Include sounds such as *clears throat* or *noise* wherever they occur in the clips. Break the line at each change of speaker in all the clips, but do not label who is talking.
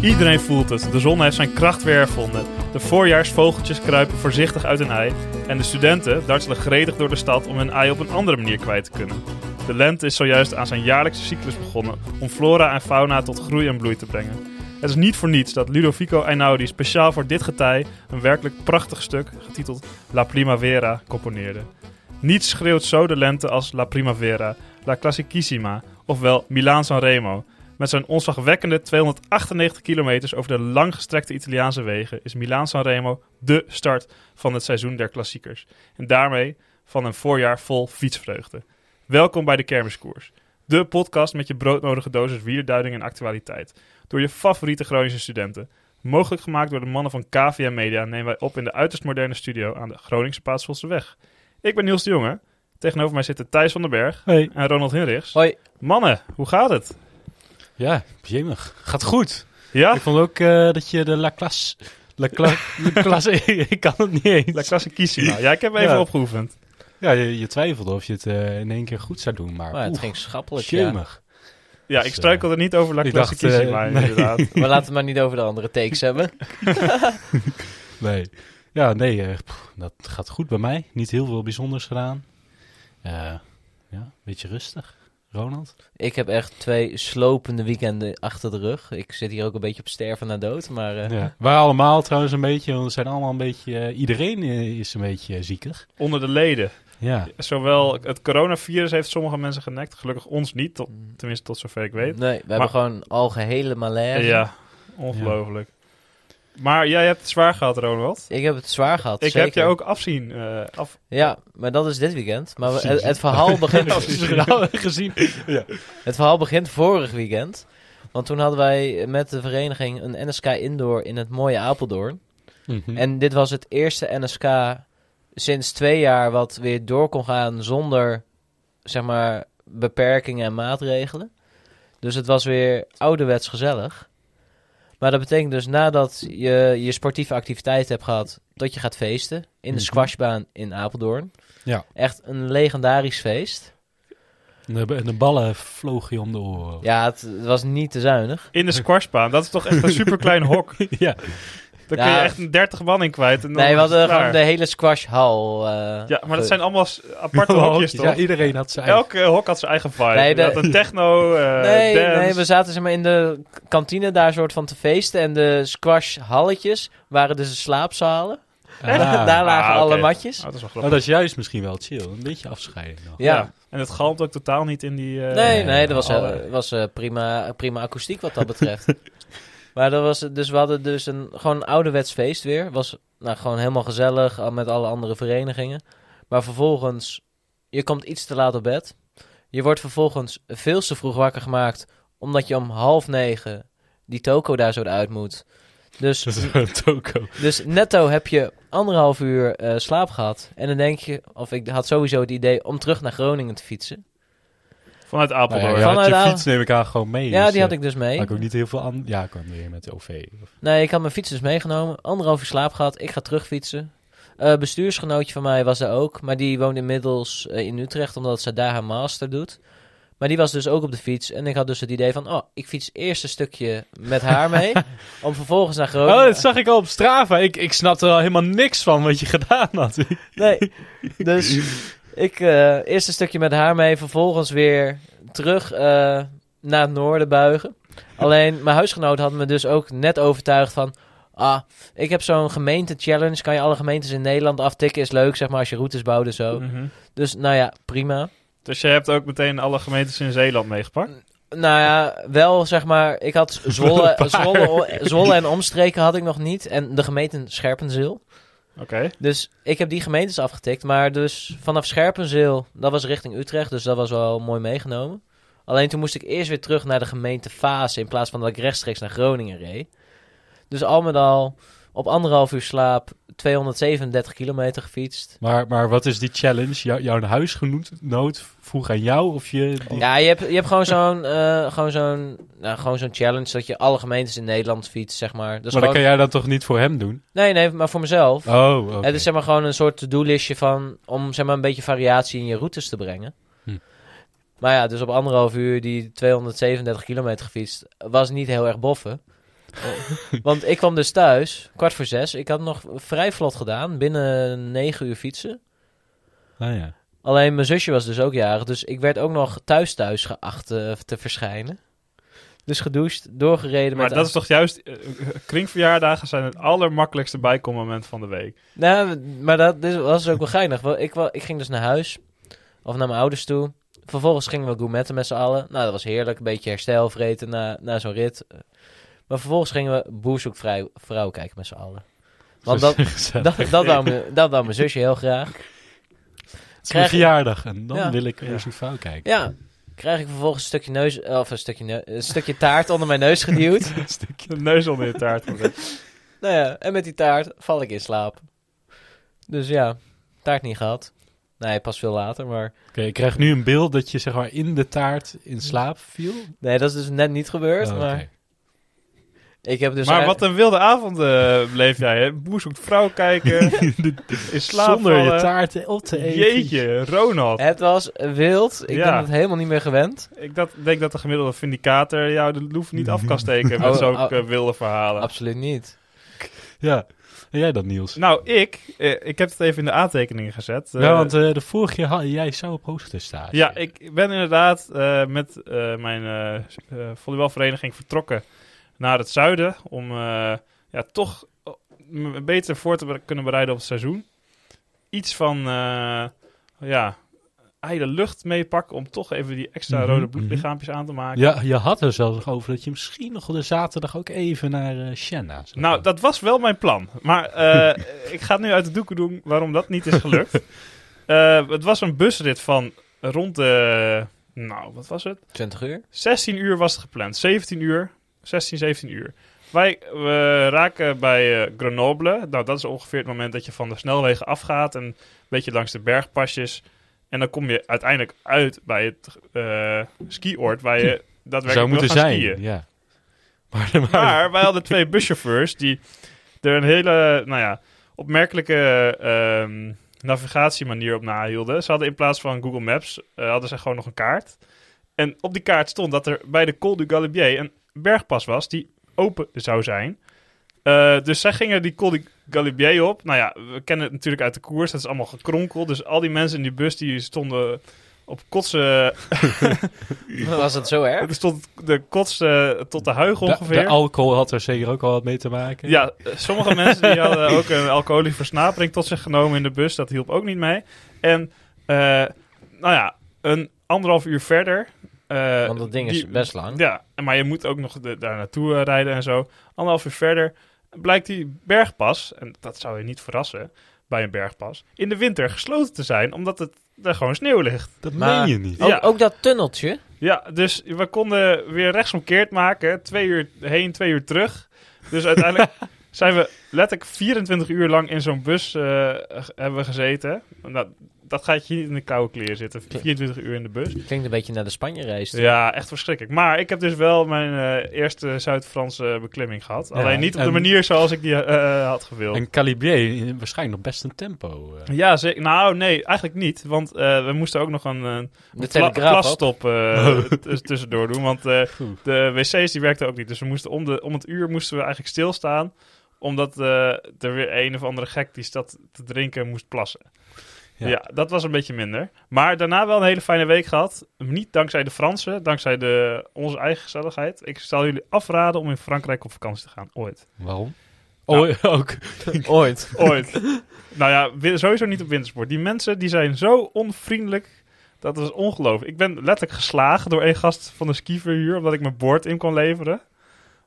Iedereen voelt het. De zon heeft zijn kracht weer hervonden. De voorjaarsvogeltjes kruipen voorzichtig uit hun ei. En de studenten dartelen gretig door de stad om hun ei op een andere manier kwijt te kunnen. De lente is zojuist aan zijn jaarlijkse cyclus begonnen om flora en fauna tot groei en bloei te brengen. Het is niet voor niets dat Ludovico Einaudi speciaal voor dit getij een werkelijk prachtig stuk getiteld La Primavera componeerde. Niets schreeuwt zo de lente als La Primavera, La Classicissima, ofwel Milaan Sanremo. Met zijn onzagwekkende 298 kilometers over de langgestrekte Italiaanse wegen is Milaan Sanremo de start van het seizoen der klassiekers. En daarmee van een voorjaar vol fietsvreugde. Welkom bij de Kermiskoers, de podcast met je broodnodige dosis wierduiding en actualiteit. Door je favoriete Groningse studenten. Mogelijk gemaakt door de mannen van KVM Media nemen wij op in de uiterst moderne studio aan de Groningse Paatsvosseweg. Ik ben Niels de Jonge. Tegenover mij zitten Thijs van den Berg
Hey.
en Ronald Hinrichs.
Hoi.
Mannen, hoe gaat het?
Ja, jemig. Gaat goed.
Ja?
Ik vond ook eh, dat je de La Classe... La Cla- La Classe... *laughs* ik kan het niet eens.
La Classicissima. Ja, ik heb hem even
Ja.
opgeoefend.
Ja, je, je twijfelde of je het eh, in één keer goed zou doen, maar...
Maar het
oeh,
ging schappelijk, ja.
jemig.
Ja,
Dus,
ik struikelde niet over La
ik dacht, eh,
Classicissima,
nee.
inderdaad.
*laughs*
Maar laten we maar niet over de andere takes hebben.
Nee. Ja, nee, eh, pff, dat gaat goed bij mij. Niet heel veel bijzonders gedaan. Eh, ja, een beetje rustig. Ronald?
Ik heb echt twee slopende weekenden achter de rug. Ik zit hier ook een beetje op sterven na dood, maar... eh,
Ja. Wij allemaal trouwens een beetje, want we zijn allemaal een beetje... eh, iedereen eh, is een beetje eh, ziekig.
Onder de leden.
*laughs* Ja.
Zowel het coronavirus heeft sommige mensen genekt, gelukkig ons niet, tot, tenminste tot zover ik weet.
mm, Nee, we hebben gewoon algehele malaise.
Ja, ongelooflijk. Maar jij hebt het zwaar gehad, Ronald.
Ik heb het zwaar gehad,
Ik
zeker.
heb je ook afzien. eh, af...
Ja, maar dat is dit weekend. Maar we- het, het
*laughs*
verhaal begint...
nou *laughs* gezien.
Het verhaal begint vorig weekend. Want toen hadden wij met de vereniging een NSK Indoor in het mooie Apeldoorn. Mhm.
Hm.
En dit was het eerste NSK sinds twee jaar wat weer door kon gaan zonder, zeg maar, beperkingen en maatregelen. Dus het was weer ouderwets gezellig. Maar dat betekent dus nadat je je sportieve activiteit hebt gehad, dat je gaat feesten in de
Mhm.
squashbaan in Apeldoorn.
Ja.
Echt een legendarisch feest.
De, de ballen vlogen je om de oren.
Ja, het, het was niet te zuinig.
In de squashbaan, dat is toch echt een
*laughs*
superklein hok.
ja.
Daar
Ja.
kun je echt een 30 man in kwijt. En dan
nee, we
is het
hadden
klaar.
gewoon de hele squashhal. eh,
Ja, maar
ge-
dat zijn allemaal s-
*laughs*
aparte hokjes, toch?
Ja, iedereen had zijn
Elke hok had zijn eigen vibe. Nee,
Nee, de-
een techno, eh
nee,
dance.
nee, we zaten zeg maar in de k- kantine daar soort van te feesten. En de squashhalletjes waren dus de slaapzalen.
eigen... Ah,
*laughs* daar lagen
Ah, oké.
alle matjes.
Oh, dat is wel grappig.
maar dat is juist misschien wel chill. Een beetje afscheiden nog.
Ja.
En het galmt ook totaal niet in die... eh,
Nee, nee, dat was, eh,
alle-
was eh, prima, prima akoestiek wat dat betreft. *laughs* maar dat was, dus we hadden dus een, gewoon een ouderwets feest weer. Was nou, gewoon helemaal gezellig al met alle andere verenigingen. Maar vervolgens, je komt iets te laat op bed. Je wordt vervolgens veel te vroeg wakker gemaakt. Omdat je om half negen die toko daar zo uit moet. Dus
Dat is een toko.
Dus netto heb je anderhalf uur eh, slaap gehad. En dan denk je, of ik had sowieso het idee om terug naar Groningen te fietsen.
Vanuit Apeldoorn.
je
ja, ja.
Nou had
Vanuit
je
de-
fiets neem ik aan gewoon mee. Oh,
ja,
dus,
die had
eh,
ik dus mee.
Had ik ook niet heel veel aan... Ja, ik kwam weer met de OV. Of-
Nee, ik had mijn fiets dus meegenomen. Anderhalf uur slaap gehad. Ik ga terugfietsen. Eh bestuursgenootje van mij was daar ook. Maar die woont inmiddels eh, in Utrecht, omdat ze daar haar master doet. Maar die was dus ook op de fiets. En ik had dus het idee van, oh, ik fiets eerst een stukje met
*laughs*
haar mee. om vervolgens naar Groningen.
Oh, dat zag ik al op Strava. Ik, ik snapte er al helemaal niks van wat je *laughs* gedaan had.
Nee. Dus ik eh, eerst een stukje met haar mee, vervolgens weer terug eh, naar het noorden buigen. Alleen mijn huisgenoot had me dus ook net overtuigd van. Ah, ik heb zo'n gemeente-challenge. Kan je alle gemeentes in Nederland aftikken? Is leuk, zeg maar, als je routes bouwt en
Mm.
zo.
Mhm.
Dus nou ja, prima.
Dus je hebt ook meteen alle gemeentes in Zeeland meegepakt?
Nou ja, wel zeg maar. Ik
*laughs*
had Zwolle,
Een paar.
Zwolle, Zwolle en omstreken had ik nog niet. En de gemeente Scherpenzeel.
Oké.
Dus ik heb die gemeentes afgetikt. Maar dus vanaf Scherpenzeel, dat was richting Utrecht. Dus dat was wel mooi meegenomen. Alleen toen moest ik eerst weer terug naar de gemeente Fase. In plaats van dat ik rechtstreeks naar Groningen reed. Dus al met al op anderhalf uur slaap 237 kilometer gefietst.
Maar, maar wat is die challenge? Jou, jouw huisgenoot vroeg aan jou of je... die-
Ja, je hebt, je hebt gewoon zo'n *laughs* eh, gewoon zo'n nou, gewoon zo'n challenge dat je alle gemeentes in Nederland fietst, zeg maar. Dus
maar
gewoon,
dat kan jij dan toch niet voor hem doen?
Nee, nee, maar voor mezelf.
Oh, oké.
Het is zeg maar gewoon een soort to-do-listje van... om zeg maar een beetje variatie in je routes te brengen.
Hm.
Maar ja, dus op anderhalf uur die 237 kilometer gefietst... was niet heel erg boffen.
*laughs*
Eh, Want ik kwam dus thuis, kwart voor zes. Ik had nog vrij vlot gedaan, binnen negen uur fietsen.
Ah, ja.
Alleen mijn zusje was dus ook jarig, dus ik werd ook nog thuis thuis geacht eh, te verschijnen. Dus gedoucht, doorgereden
Maar
met...
dat is toch juist... eh, kringverjaardagen zijn het allermakkelijkste bijkommoment van de
*laughs*
week.
Nou, maar dat dit was ook wel geinig. Wel, Ik, wa- ik ging dus naar huis, of naar mijn ouders toe. Vervolgens gingen we gourmetten met z'n allen. Nou, dat was heerlijk. Een beetje herstel vreten na, na zo'n rit. Maar vervolgens gingen we Boer zoekt vrij, vrouw kijken met z'n allen.
*laughs*
Want dat,
Gezellig.
dat, dat, wou, mijn- dat wou mijn zusje heel graag.
Het is mijn
krijg-
verjaardag en dan
Ja.
wil ik
Ja.
eens een vrouw kijken.
Ja, krijg ik vervolgens een stukje, neus, of een stukje, neu- een stukje taart onder mijn neus geduwd.
*laughs*
De neus onder je taart.
Nou ja, en met die taart val ik in slaap. Dus ja, taart niet gehad. Nee, pas veel later, maar...
Oké, ik krijg nu een beeld dat je zeg maar in de taart in slaap viel.
Nee, dat is dus net niet gebeurd,
Oh, oké.
eh,
maar... Ik heb dus
maar
eigenlijk-
wat een wilde avond eh, bleef jij, hè? Boer zoekt vrouw
*laughs*
kijken, in slaap
Zonder je
vallen.
taart op te eten.
Jeetje, Ronald.
Het was wild. Ik
Ja.
ben het helemaal niet meer gewend.
Ik dat, denk dat de gemiddelde vindicator jou de loef niet af kan steken
*laughs*
met
Oh,
zo'n
oh.
eh, wilde verhalen.
Absoluut niet.
Ja. En jij dat, Niels?
Nou, ik, eh, ik heb het even in de aantekeningen gezet. Eh,
ja, want eh, de vorige keer had jij zou op hoogtestage.
ja, ik ben inderdaad eh, met eh, mijn eh, s- eh, volleybalvereniging vertrokken naar het zuiden. Om eh, ja, toch eh, me beter voor te be- kunnen bereiden op het seizoen. Iets van eh ja, ijle lucht meepakken om toch even die extra
Mhm,
rode
mhm.
bloedlichaampjes aan te maken.
Ja, je had er zelfs nog over dat je misschien nog de zaterdag ook even naar eh Shanna zou
Nou,
gaan.
dat was wel mijn plan. Maar eh, *laughs* ik ga het nu uit de doeken doen waarom dat niet is
*laughs*
gelukt. Eh, het was een busrit van rond de. Nou, wat was het?
20 uur?
16 uur was het gepland. 17 uur. 16, 17 uur. Wij we raken bij eh, Grenoble. Nou, dat is ongeveer het moment dat je van de snelwegen afgaat. En een beetje langs de bergpasjes. En dan kom je uiteindelijk uit bij het eh skioord waar je daadwerkelijk
zou
wil
moeten
gaan
zijn.
skiën.
Ja. Maar, maar,
Maar
*laughs*
wij hadden twee buschauffeurs die er een hele, nou ja, opmerkelijke ehm, navigatiemanier op nahielden. Ze hadden in plaats van Google Maps, eh, hadden ze gewoon nog een kaart. En op die kaart stond dat er bij de Col du Galibier een bergpas was die open zou zijn. Eh, dus zij gingen die Col du Galibier op. Nou ja, we kennen het natuurlijk uit de koers. Dat is allemaal gekronkeld. Dus al die mensen in die bus die stonden op kotsen.
*laughs* Was dat zo erg?
Er stond de kotsen tot de huig
de,
ongeveer.
de alcohol had er zeker ook al wat mee te maken.
Ja, eh, sommige mensen die hadden ook een alcoholische versnapering tot zich genomen in de bus. Dat hielp ook niet mee. En, eh, nou ja, een anderhalf uur verder. eh,
Want dat ding is
die-
best lang.
Ja, maar je moet ook nog de- daar naartoe eh, rijden en zo. Anderhalf uur verder blijkt die bergpas, en dat zou je niet verrassen bij een bergpas, in de winter gesloten te zijn, omdat het er gewoon sneeuw ligt.
Dat
Maar-
meen je niet.
Ja.
Ook, ook dat tunneltje.
Ja, dus we konden weer rechtsomkeerd maken. Twee uur heen, twee uur terug. Dus
*laughs*
uiteindelijk zijn we letterlijk 24 uur lang in zo'n bus eh, ge- hebben we gezeten. Nou, dat gaat je niet in de koude kleren zitten. 24 uur in de bus.
Klinkt een beetje naar de Spanje-reis. toe.
Ja, echt verschrikkelijk. Maar ik heb dus wel mijn eh, eerste Zuid-Franse beklimming gehad.
Ja,
Alleen niet op de
en-
manier zoals ik die eh, had gewild.
En Calibier, eh, waarschijnlijk nog best een tempo. eh.
Ja, zeker. Nou, nee, eigenlijk niet. Want eh, we moesten ook nog een, eh,
De
pla
Telegraaf ook.
plasstop eh, t- tussendoor doen. Want eh,
Oeh.
de wc's die werkten ook niet. Dus we moesten om, de, om het uur moesten we eigenlijk stilstaan. Omdat eh, er weer een of andere gek die zat te drinken moest plassen.
Ja.
Ja. dat was een beetje minder. Maar daarna wel een hele fijne week gehad. Niet dankzij de Fransen, dankzij de, onze eigen gezelligheid. Ik zal jullie afraden om in Frankrijk op vakantie te gaan. Ooit.
Waarom?
Nou.
Oh, ook.
Ooit.
*laughs* Ooit. nou ja, wi- sowieso niet op wintersport. Die mensen die zijn zo onvriendelijk. Dat is ongelooflijk. Ik ben letterlijk geslagen door één gast van de skiverhuur. Omdat ik mijn boord in kon leveren.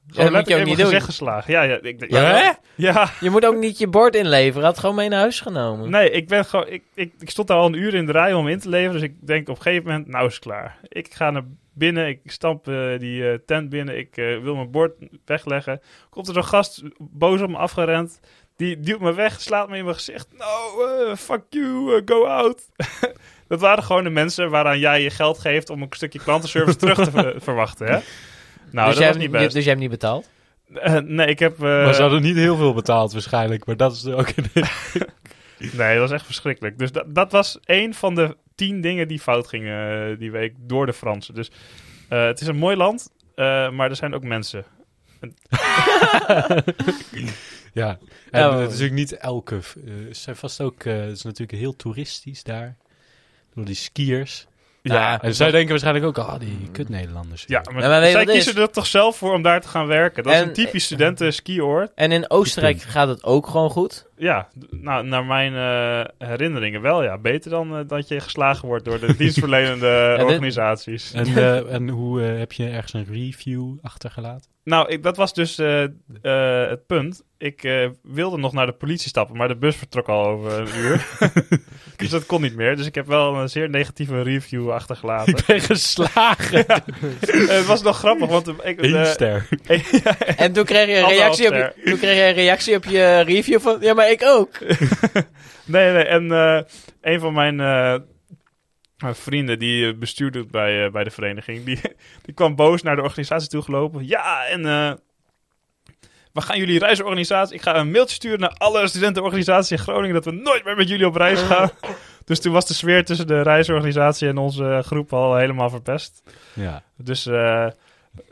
Gewoon
moet je ook
letterlijk in
niet
mijn
doen.
gezicht geslagen. Ja, ja, ik,
Ja,
ja.
hè?
ja.
Je moet ook niet je bord inleveren. Had gewoon mee naar huis genomen.
Nee, ik, ben gewoon, ik, ik, ik stond daar al een uur in de rij om in te leveren. Dus ik denk op een gegeven moment, nou is het klaar. Ik ga naar binnen, ik stamp eh, die eh, tent binnen. Ik eh, wil mijn bord wegleggen. Komt er zo'n gast boos op me afgerend. Die duwt me weg, slaat me in mijn gezicht. No, eh, fuck you, eh, go out. *laughs* dat waren gewoon de mensen waaraan jij je geld geeft om een stukje klantenservice terug te
*laughs*
ver- verwachten. Hè? Nou,
dus,
dat
jij
was
hebt,
niet
je-
best.
dus jij hebt niet betaald?
Eh, nee, ik heb... eh,
maar ze hadden niet heel veel betaald waarschijnlijk. Maar dat is ook een...
Nee, dat was echt verschrikkelijk. Dus dat, dat was één van de tien dingen die fout gingen eh, die week door de Fransen. Dus eh, het is een mooi land, eh, maar er zijn ook mensen.
*laughs* ja.
Nou.
En eh,
Oh.
het is natuurlijk niet elke... v- eh, Ze zijn vast ook... eh, het is natuurlijk heel toeristisch daar. Door die skiers.
Ja.
En zij denken waarschijnlijk ook... Ah, die kut Nederlanders.
Hmm. ja, maar,
Ja, maar weet je
zij
wat het
kiezen er toch zelf voor om daar te gaan werken. Dat is
En-
een typisch studenten-skioord.
En in Oostenrijk
punt.
gaat het ook gewoon
*laughs*
goed.
Ja, d- nou, naar mijn eh, herinneringen wel, ja. Beter dan eh, dat je geslagen wordt door
*laughs*
de dienstverlenende
dit-
organisaties. *laughs*
En, eh, en hoe eh, heb je ergens een review
*laughs*
achtergelaten?
Nou, ik, dat was dus eh, eh, het punt. Ik eh, wilde nog naar de politie stappen, maar de bus vertrok al over een uur. *laughs* dus dat kon niet meer. Dus ik heb wel een zeer negatieve review achtergelaten.
*laughs* ben geslagen.
Eh, het was nog grappig, want eh, ik... eh,
Eén
*laughs*
ster.
En toen kreeg je een
Anderhalf
reactie op je, toen kreeg je, een reactie op je review van... Ja, maar ik ook.
nee, nee, en eh, een van mijn... eh, mijn vrienden die eh, bestuurder bij, eh, bij de vereniging, die, *laughs* die kwam boos naar de organisatie toe gelopen. Ja, en eh, we gaan jullie reisorganisatie. Ik ga een mailtje sturen naar alle studentenorganisaties in Groningen dat we nooit meer met jullie op reis gaan. Dus toen was de sfeer tussen de reisorganisatie en onze eh, groep al helemaal verpest.
Ja.
Dus eh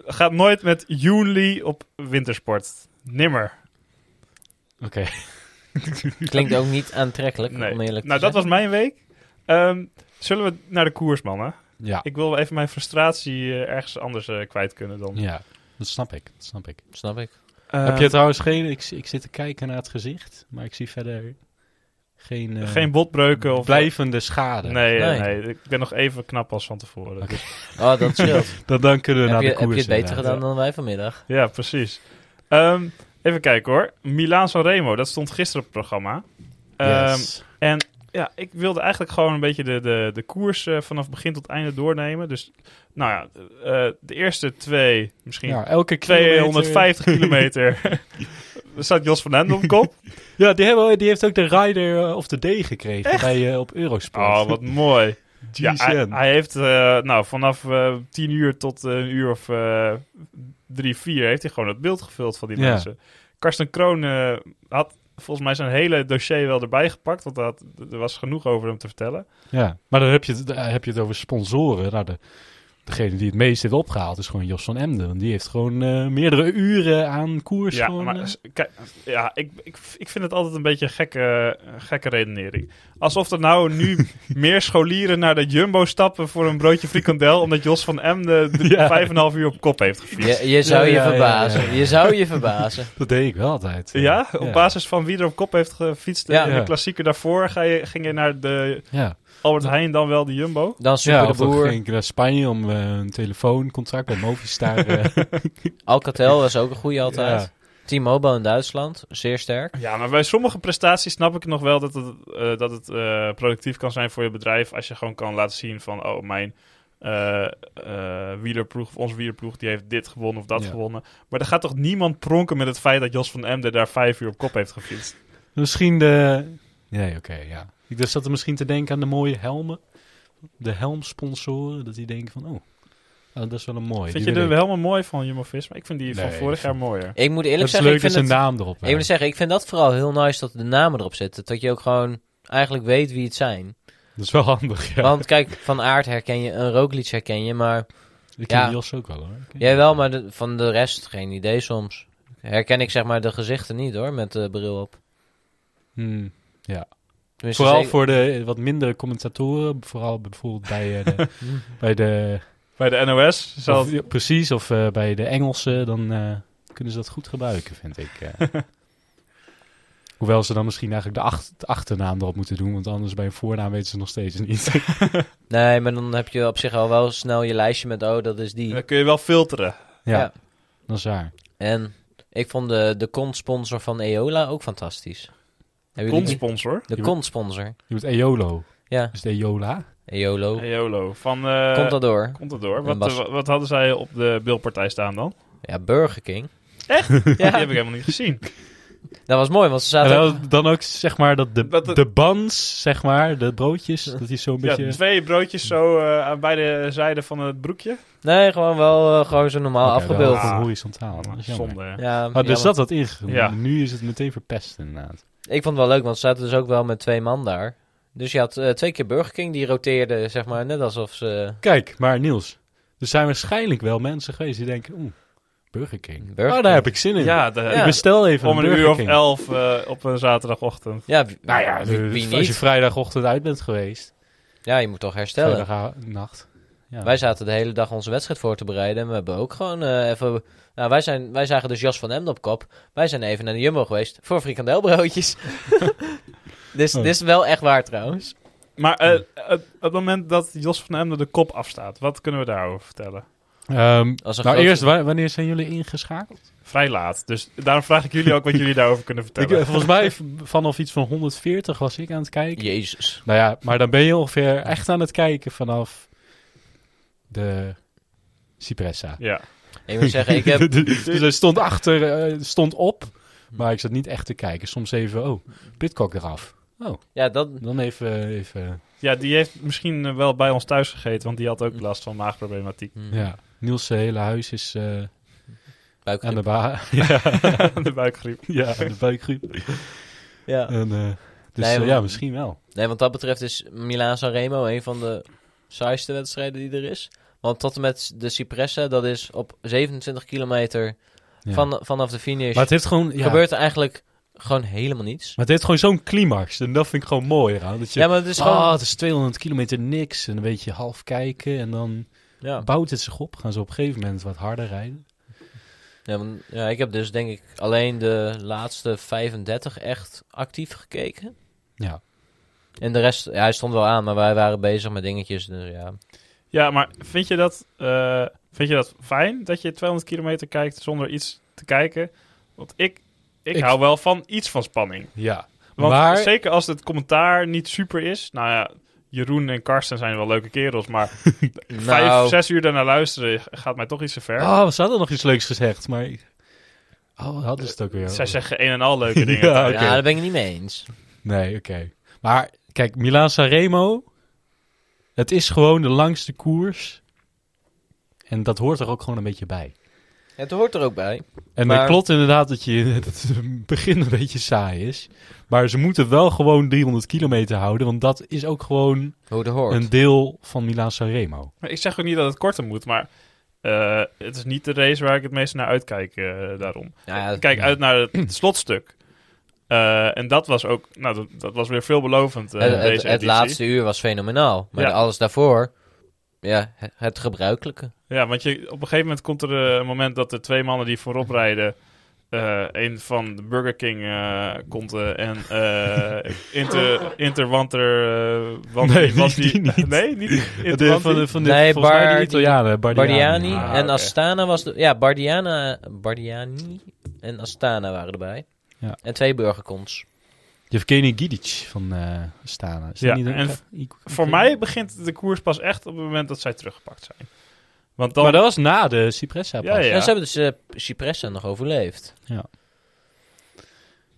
gaat nooit met Juli op wintersport. Nimmer.
Oké.
Klinkt ook niet aantrekkelijk,
Nee.
om eerlijk
Nou,
te
dat
zijn.
was mijn week. Ehm, zullen we naar de koers, mannen?
Ja.
Ik wil wel even mijn frustratie eh, ergens anders eh, kwijt kunnen dan.
Ja. Dat snap ik. Dat snap ik.
Snap ik.
Eh,
Heb je trouwens geen... Ik, ik zit te kijken naar het gezicht, maar ik zie verder geen, eh,
geen botbreuken of...
blijvende schade.
Nee, eh,
Nee.
nee. ik ben nog even knap als van tevoren.
Oké.
Dus-
Oh, dat *laughs* scheelt.
Dan, dan kunnen we
heb,
naar
je,
de
heb je
koers.
het beter
inderdaad.
gedaan dan wij vanmiddag?
ja, precies. Ehm, even kijken hoor. Milaan Sanremo, dat stond gisteren op het programma. Ehm,
Yes.
En ja, ik wilde eigenlijk gewoon een beetje de, de, de koers eh, vanaf begin tot einde doornemen. Dus nou ja, eh, de eerste twee, misschien
Ja, elke kilometer-
250 kilometer, daar staat Jos van Ende op kop.
Ja, die, hebben, die heeft ook de Rider eh, of the Day gekregen bij, eh, op Eurosport.
Oh, wat mooi. Ja, hij,
GCN.
hij heeft eh, nou, vanaf eh, 10 uur tot eh, een uur of eh 3, 4 heeft hij gewoon het beeld gevuld van die
Ja.
mensen. Karsten Kroon eh, had volgens mij zijn hele dossier wel erbij gepakt, want dat, er was genoeg over hem te vertellen.
Ja, maar dan heb je, het, dan heb je het over sponsoren. Nou, de, degene die het meest heeft opgehaald is gewoon Jos van Emden. Want die heeft gewoon eh, meerdere uren aan koers.
Ja,
gewoon,
maar
eh,
s- kijk, ja ik, ik, ik vind het altijd een beetje een gekke, een gekke redenering. Alsof er nou
*laughs*
nu meer scholieren naar de Jumbo stappen voor een broodje frikandel, omdat Jos van Emden drie-
Ja.
vijf en een half uur op kop heeft gefietst.
Je, je zou
Ja,
je
ja, ja,
verbazen.
ja, ja.
Je zou je verbazen.
dat deed ik wel altijd. eh.
Ja, op basis van wie er op kop heeft gefietst. eh,
Ja.
in
Ja.
de klassieker daarvoor ga je, ging je naar de
Ja,
Albert Heijn, dan wel de Jumbo.
Dan super
ja
de
of dan
boer.
ging ik naar Spanje om eh, een telefooncontract bij Movistar. eh,
Alcatel was ook een goede altijd.
Ja.
T-Mobile in Duitsland, zeer sterk.
Ja, maar bij sommige prestaties snap ik nog wel dat het, eh, dat het eh, productief kan zijn voor je bedrijf. Als je gewoon kan laten zien van, oh, mijn eh, eh, wielerploeg of onze wielerploeg, die heeft dit gewonnen of dat
Ja.
gewonnen. Maar er gaat toch niemand pronken met het feit dat Jos van Emden daar vijf uur op kop heeft gefietst.
Misschien de. Nee, oké, ja. Ik dacht zat er misschien te denken aan de mooie helmen. De helmsponsoren, dat die denken van, oh, ah, dat is wel een mooie.
vind je
die
de
wil ik.
helemaal mooi van Jumbo-Visma? Ik vind die van
Nee,
vorig
ik
jaar mooier.
Ik moet eerlijk
Dat is
zeggen,
leuk
ik
dat
vind,
zijn
het,
naam erop
ik moet
lijkt.
zeggen, ik vind dat vooral heel nice dat de namen erop zitten. Dat je ook gewoon eigenlijk weet wie het zijn.
Dat is wel handig, ja.
Want kijk, Van Aert herken je, een Roglic herken je, maar
ik ken
ja.
die Jos ook wel, hoor. Ik ken
jij
die.
wel, maar de- van de rest geen idee soms. Herken ik zeg maar de gezichten niet hoor, met de bril op.
Hmm.
Tenminste,
Vooral
zeker-
voor de wat mindere commentatoren, vooral bijvoorbeeld bij, eh,
*laughs*
de, bij de...
Bij de NOS zal
of- ja, precies, of eh, bij de Engelsen, dan eh, kunnen ze dat goed gebruiken, vind ik. eh. Hoewel ze dan misschien eigenlijk de, ach- de achternaam erop moeten doen, want anders bij een voornaam weten ze nog steeds niet. *laughs*
Nee, maar dan heb je op zich al wel snel je lijstje met, oh, dat is die.
Dan kun je wel filteren.
Ja.
Ja.
Dat is waar.
En ik vond de, de kontsponsor van Eola ook fantastisch. Hebben jullie die?
Kontsponsor.
De kontsponsor.
Je moet Eolo.
Ja,
Is het Eola?
Eolo.
Eolo. Van, eh,
Komt dat door?
Komt het door?
En
Wat,
Bas-
eh, wat hadden zij op de bilpartij staan
*laughs*
dan?
Ja, Burger King.
Echt? Die
*laughs* Ja,
heb ik helemaal niet gezien.
dat was mooi, want ze
En
zaten... ook-
wel- dan ook zeg maar dat de,
Dat het-
de buns, zeg maar, de broodjes, dat is zo'n
Ja,
beetje...
twee broodjes zo eh, aan beide zijden van het broekje.
Nee, gewoon wel eh, gewoon zo normaal
Oké, wel
afgebeeld.
gewoon horizontaal. Dat is jammer.
Zonde. hè.
Ja,
Ah, dus
jammer.
dat had ingegroeid.
Ja.
Nu is het meteen verpest inderdaad.
Ik vond het wel leuk, want ze zaten dus ook wel met twee man daar. Dus je had eh, twee keer Burger King, die roteerde, zeg maar, net alsof ze...
Kijk, maar Niels, er zijn waarschijnlijk wel mensen geweest die denken, oeh, Burger King.
Burger
oh, daar
King.
heb ik zin in.
Ja, de-
Ik bestel even
om een
Burger
uur of
King.
elf eh, op een zaterdagochtend.
Ja, wie-
Nou ja,
wie, wie
als je
niet?
vrijdagochtend uit bent geweest,
Ja, je moet toch herstellen.
vrijdagnacht. Ja.
Wij zaten de hele dag onze wedstrijd voor te bereiden. En we hebben ook gewoon eh, even... Nou, wij, zijn, wij zagen dus Jas van Emden op kop. Wij zijn even naar de Jumbo geweest voor frikandelbroodjes. *laughs* dus
Oh.
dit is wel echt waar trouwens.
Maar eh, eh, op het moment dat Jos van Emden de kop afstaat, wat kunnen we daarover vertellen?
Ehm,
Als een
nou,
grote-
eerst, wa- wanneer zijn jullie ingeschakeld?
Vrij laat. Dus daarom vraag ik jullie ook wat jullie daarover kunnen
*laughs* Ik,
vertellen.
eh, volgens mij v- vanaf iets van 140 was ik aan het kijken.
Jezus.
Nou ja, maar dan ben je ongeveer echt aan het kijken vanaf de Cipressa.
Ja.
Ik moet
*laughs*
zeggen, ik heb...
dus hij stond achter, eh, stond op, maar ik zat niet echt te kijken. Soms even, oh, Pitcock eraf.
Ja, dat...
Dan even, even
ja, die heeft misschien eh, wel bij ons thuis gegeten, want die had ook last van maagproblematiek.
Hm,
ja. Niels' hele huis is eh,
buikgriep.
aan de ba ja,
*laughs* de buikgriep.
*laughs* ja, aan de buikgriep.
Ja.
En, eh, dus
Nee,
eh,
maar-
ja, misschien wel.
Nee, wat dat betreft is Milaan Sanremo een van de saaiste wedstrijden die er is. Want tot en met de Cipressa, dat is op 27 kilometer
Ja.
van, vanaf de finish,
maar het heeft gewoon, ja,
gebeurt er eigenlijk gewoon helemaal niets.
maar het heeft gewoon zo'n climax. En dat vind ik gewoon mooi eraan. Dat je,
Ja, maar het is gewoon...
Ah, het is 200 kilometer niks. En een beetje half kijken. En dan
ja.
bouwt het zich op. Gaan ze op een gegeven moment wat harder rijden.
Ja, want, ja, ik heb dus denk ik alleen de laatste 35 echt actief gekeken.
Ja.
En de rest, ja, hij stond wel aan, maar wij waren bezig met dingetjes. Dus ja.
Ja, maar vind je, dat, eh, vind je dat fijn dat je 200 kilometer kijkt zonder iets te kijken? Want ik, ik,
Ik-
hou wel van iets van spanning.
Ja.
Want
maar
zeker als het commentaar niet super is. Nou ja, Jeroen en Karsten zijn wel leuke kerels,
*laughs*
maar vijf, zes uur daarna luisteren gaat mij toch iets te ver.
Oh, ze hadden nog iets leuks gezegd, maar... Oh, hadden ze het ook weer
Zij
over?
zeggen een en al
*laughs*
leuke dingen.
Ja,
Ja,
oké.
daar ben ik het niet mee eens.
Nee, oké. Maar kijk, Milaan Sanremo... Het is gewoon de langste koers. En dat hoort er ook gewoon een beetje bij.
Het hoort er ook bij.
En
Maar-
dat klopt inderdaad dat, je, *laughs* dat het begin een beetje saai is. Maar ze moeten wel gewoon 300 kilometer houden. Want dat is ook gewoon
Hoe het hoort.
een deel van Milaan Sanremo.
Maar Ik zeg ook niet dat het korter moet, maar eh, het is niet de race waar ik het meest naar uitkijk eh, daarom.
Ja,
Ik kijk
ja.
uit naar
*clears throat*
het slotstuk. Eh, en dat was ook, nou, dat, dat was weer veelbelovend. eh,
het, het-
deze
het
editie.
laatste uur was fenomenaal. Maar
Ja.
alles daarvoor, ja, het, het gebruikelijke.
Ja, want je, op een gegeven moment komt er eh, een moment dat er twee mannen die voorop rijden. eh, een van de Burger King eh, komt eh, en
*laughs*
eh Inter, Interwanter. eh, want-
Nee,
was
die- die niet.
Nee, niet.
*laughs* Het is
Interwanter.
van de, van de,
Nee,
volgens mij de
Bardi-
Italianen. Bardiani.
Bardiani
Ah,
en
oké.
Astana was... De, ja, Bardiana, Bardiani en Astana waren erbij.
Ja.
En twee burgerkons.
Yevgeny Gidic van eh Astana. Is dat
Ja,
niet een-
en
I-
Voor mij begint de koers pas echt op het moment dat zij teruggepakt zijn. Want dan,
Maar dat was na de Cipressa pas.
Ja, ja.
En ze hebben dus eh Cipressa nog overleefd.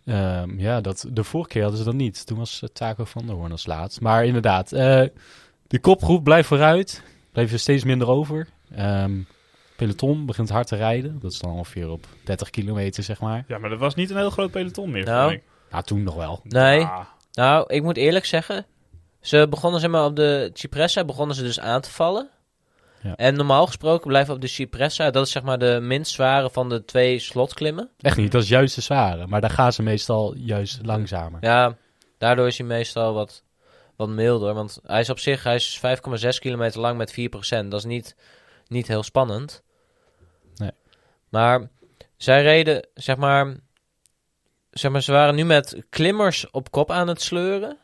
Ehm, ja, dat, de vorige keer hadden ze dat niet. Toen was eh, Taco van der Hoorn als laatst. Maar inderdaad, eh, de kopgroep blijft vooruit. Bleef er steeds minder over. Ehm, peloton begint hard te rijden. Dat is dan ongeveer op 30 kilometer, zeg maar.
ja, maar dat was niet een heel groot peloton meer.
Nou.
vond ik. Ah.
Nou, toen nog wel.
Nee.
Ja.
Nou, ik moet eerlijk zeggen... Ze begonnen zeg maar op de Cipressa, begonnen ze dus aan te vallen.
Ja.
En normaal gesproken blijven op de Cipressa, dat is zeg maar de minst zware van de twee slotklimmen.
Echt niet, dat is juist de zware. Maar daar gaan ze meestal juist langzamer.
Ja, daardoor is hij meestal wat, wat milder. Want hij is op zich hij is 5,6 kilometer lang met 4%. Dat is niet, niet heel spannend.
Nee.
Maar zij reden, zeg maar, zeg maar, ze waren nu met klimmers op kop aan het sleuren.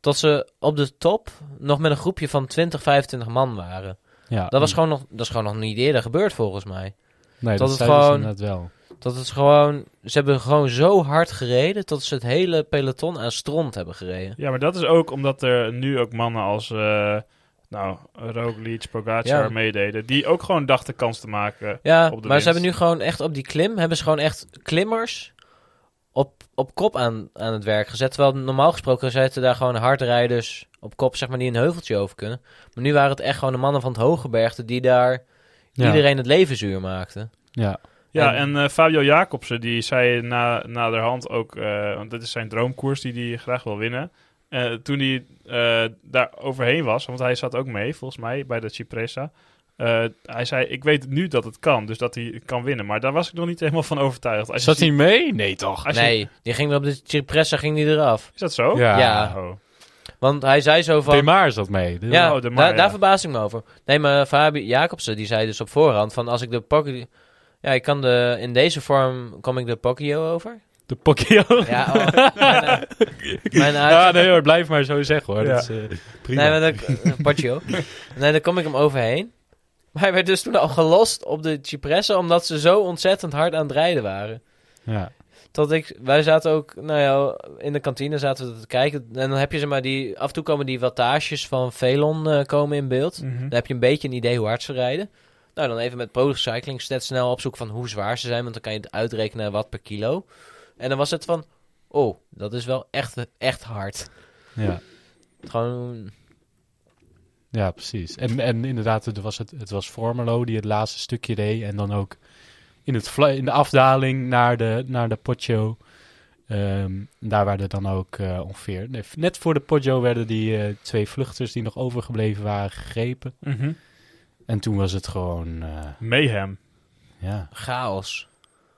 Tot ze op de top nog met een groepje van 20, 25 man waren.
Ja, Mm.
Dat, was gewoon nog, dat is gewoon nog niet eerder gebeurd volgens mij.
Nee,
dat
dat,
het
zei dus
gewoon-
inderdaad wel.
Dat het gewoon... Ze hebben gewoon zo hard gereden... dat ze het hele peloton aan stront hebben gereden.
Ja, maar dat is ook omdat er nu ook mannen als... eh nou, Roglic, Pogacar
Ja.
meededen. Die ook gewoon dachten kans te maken.
Ja,
op de
maar
winst.
ze hebben nu gewoon echt op die klim... hebben ze gewoon echt klimmers op, op kop aan, aan het werk gezet. Terwijl normaal gesproken zitten daar gewoon hardrijders op kop... zeg maar, die een heuveltje over kunnen. Maar nu waren het echt gewoon de mannen van het Hogebergte... die daar
Ja.
iedereen het leven zuur maakten.
Ja.
Ja, en,
En-
eh, Fabio Jacobsen, die zei na, naderhand ook, eh, want dit is zijn droomkoers die hij graag wil winnen. Eh, toen hij eh, daar overheen was, want hij zat ook mee, volgens mij, bij de Cipressa. eh, hij zei, ik weet nu dat het kan, dus dat hij het kan winnen. Maar daar was ik nog niet helemaal van overtuigd. Als je
Zat
ziet-
hij mee? Nee, toch?
als je-
Nee, die ging weer op de Cipressa ging die eraf.
Is dat zo?
Ja.
Oh.
Want hij zei zo van...
Pemaar zat mee. Dus-
Ja.
Ja,
Oh, de
da-
Maya.
daar verbaas ik me over. Nee, maar Fabi Jacobsen die zei dus op voorhand van als ik de Pocky... Ja, ik kan de, in deze vorm kom ik de Pockio over.
De pakje. *laughs*
Ja, oh, mijn, eh, mijn uit-
Ja, nee hoor, blijf maar zo zeggen hoor.
Ja.
Dat is, eh, prima.
Nee, maar dan, eh, Poggio. Nee, dan kom ik hem overheen. Maar hij werd dus toen al gelost op de Cipressa omdat ze zo ontzettend hard aan het rijden waren.
ja.
Tot ik, wij zaten ook, nou ja, in de kantine zaten we te kijken. En dan heb je zeg maar die, af en toe komen die wattages van Velon eh, komen in beeld.
Mhm.
Dan heb je een beetje een idee hoe hard ze rijden. Nou, dan even met Product Cycling Stats snel opzoeken van hoe zwaar ze zijn. Want dan kan je het uitrekenen wat per kilo. En dan was het van, oh, dat is wel echt, echt hard.
Ja.
Gewoon,
ja, precies. En, en inderdaad, het was, het, het was Formelo die het laatste stukje deed. En dan ook in, het vla- in de afdaling naar de, naar de Poggio. Ehm, daar werden dan ook eh ongeveer... nee, net voor de Poggio werden die eh, twee vluchters die nog overgebleven waren gegrepen.
Mhm.
En toen was het gewoon... eh,
Mayhem.
ja.
chaos.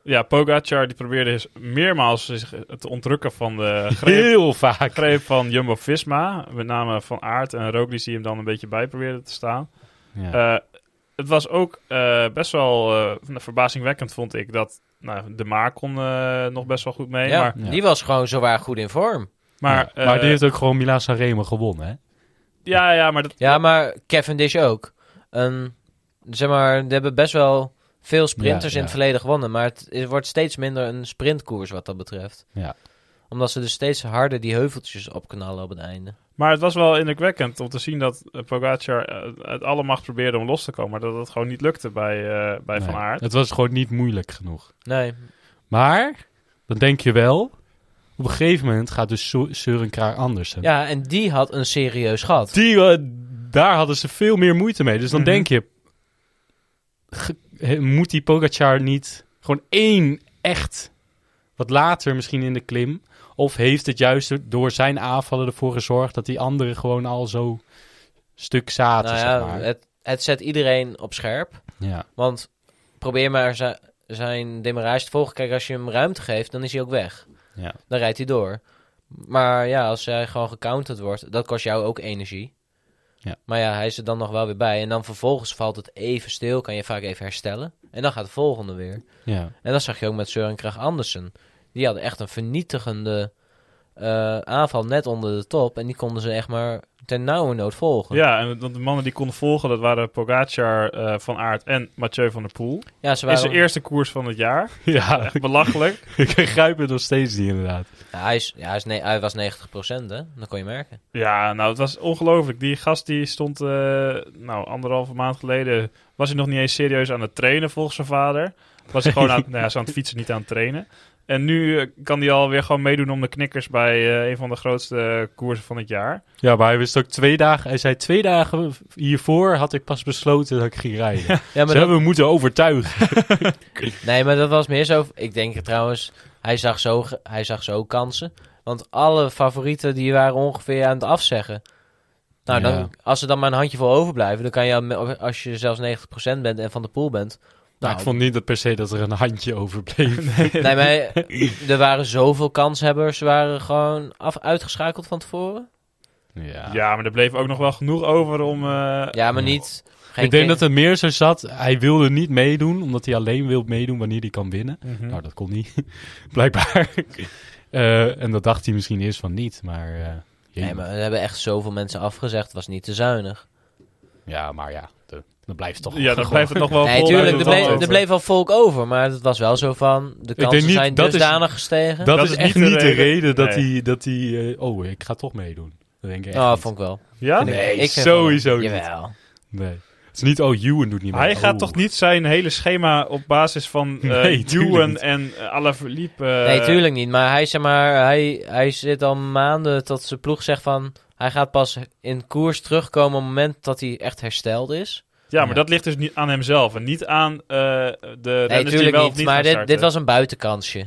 Ja, Pogacar die probeerde eens- meermaals zich te ontrukken van de greep
*laughs* Heel vaak.
greep van Jumbo-Visma. Met name van Aert en Roglic die hem dan een beetje bij probeerden te staan.
Ja.
Eh, het was ook eh, best wel eh, verbazingwekkend, vond ik, dat nou, de Maar kon eh, nog best wel goed mee.
ja,
Maar,
Ja.
die was gewoon zowaar goed in vorm.
maar,
ja. maar
eh,
die heeft ook gewoon Milaan Sanremo gewonnen, hè?
ja, ja, maar dat,
Ja, maar Cavendish ook. Een, zeg maar, er hebben best wel veel sprinters
Ja, ja.
in het verleden gewonnen. Maar het is- wordt steeds minder een sprintkoers wat dat betreft.
Ja.
Omdat ze dus steeds harder die heuveltjes opknallen op het einde.
maar het was wel indrukwekkend om te zien dat eh, Pogacar eh, uit alle macht probeerde om los te komen. Maar dat het gewoon niet lukte bij, eh, bij Van
Nee,
Aert.
Het was gewoon niet moeilijk genoeg.
Nee,
Maar, dan denk je wel... Op een gegeven moment gaat dus Su- Søren Kraar Andersen.
Ja, en die had een serieus gat.
Die, eh, daar hadden ze veel meer moeite mee. Dus dan
Mhm.
denk je... ge- he- moet die Pogacar niet gewoon één echt... Wat later misschien in de klim... Of heeft het juist door zijn aanvallen ervoor gezorgd... dat die anderen gewoon al zo stuk zaten,
nou
zeg
ja,
maar.
het, het zet iedereen op scherp.
Ja.
Want probeer maar zi- zijn demarrage te volgen. Kijk, als je hem ruimte geeft, dan is hij ook weg.
Ja.
Dan rijdt hij door. Maar ja, als hij gewoon gecounterd wordt, dat kost jou ook energie.
Ja.
Maar ja, hij is er dan nog wel weer bij. En dan vervolgens valt het even stil, kan je vaak even herstellen. En dan gaat de volgende weer.
ja.
En dat zag je ook met Søren Krag Andersen. Die hadden echt een vernietigende eh, aanval net onder de top. En die konden ze echt maar ten nauwe nood volgen.
Ja, en want de mannen die konden volgen, dat waren Pogacar, eh, Van Aert en Mathieu van der Poel.
Ja, ze
In
waren...
zijn eerste koers van het
*laughs*
jaar.
Ja,
Echt belachelijk.
*laughs* ik begrijp het nog steeds niet, inderdaad.
Ja, hij, is, ja, hij, is ne- hij was 90%, hè? Dat kon je merken.
Ja, nou, het was ongelooflijk. Die gast die stond, eh, nou, anderhalve maand geleden... was hij nog niet eens serieus aan het trainen, volgens zijn vader. Was hij
*laughs*
gewoon aan, nou ja, ze aan het fietsen, niet aan het trainen. En nu eh, kan hij alweer gewoon meedoen om de knikkers... bij eh, een van de grootste koersen van het jaar.
Ja, maar hij wist ook twee dagen. Hij zei twee dagen hiervoor had ik pas besloten dat ik ging rijden.
Ja,
Ze
maar dat,
hebben me moeten overtuigen.
nee, maar dat was meer zo... Ik denk het trouwens, hij zag, zo, ge- hij zag zo kansen. Want alle favorieten die waren ongeveer aan het afzeggen. Nou, dan,
Ja.
als er dan maar een handjevol overblijven... dan kan je, me- als je zelfs 90% bent en van de pool bent...
Nou,
Nou,
ik vond niet dat per se dat er een handje overbleef.
nee,
*laughs*
maar er waren zoveel kanshebbers... waren gewoon af, uitgeschakeld van tevoren.
Ja.
Ja, maar er bleef ook nog wel genoeg over om... eh,
Ja, maar niet... Geen
ik denk
ken-
dat het meer zo zat. Hij wilde niet meedoen, omdat hij alleen wil meedoen wanneer hij kan winnen.
mhm.
Nou, dat kon niet, *laughs* blijkbaar. Eh, en dat dacht hij misschien eerst van niet, maar... eh, jee.
Nee, maar er hebben echt zoveel mensen afgezegd. Het was niet te zuinig.
Ja, maar ja. de- Dan blijft het toch
Ja, dan
gewoon-
blijft het nog wel
nee,
vol.
tuurlijk,
uit
er
het
bleef,
land.
er bleef wel volk over. Maar het was wel zo van, de kansen
denk niet-
zijn
dat is-
dusdanig gestegen.
Dat,
Dat
is echt niet de reden, dat
Nee.
hij... Dat hij eh, oh, ik ga toch meedoen. Dat denk ik echt
oh,
niet.
vond ik wel.
Ja?
Vind ik-
Nee,
ik vind
sowieso
wel.
niet.
Jawel.
Nee. Het is niet, oh, Ewan doet niet mee.
Hij gaat
Oh.
toch niet zijn hele schema op basis van eh
*laughs* Nee, tuurlijk
Ewan
niet.
en uh, Alaphilippe... eh,
Nee, tuurlijk niet. Maar hij, zeg maar, hij, hij zit al maanden tot zijn ploeg zegt van... Hij gaat pas in koers terugkomen op het moment dat hij echt hersteld is.
Ja, maar
Ja.
dat ligt dus niet aan hemzelf en niet aan eh, de
Nee,
renners die
tuurlijk
wel
niet.
of niet
maar
gaan
dit,
starten.
dit was een buitenkansje.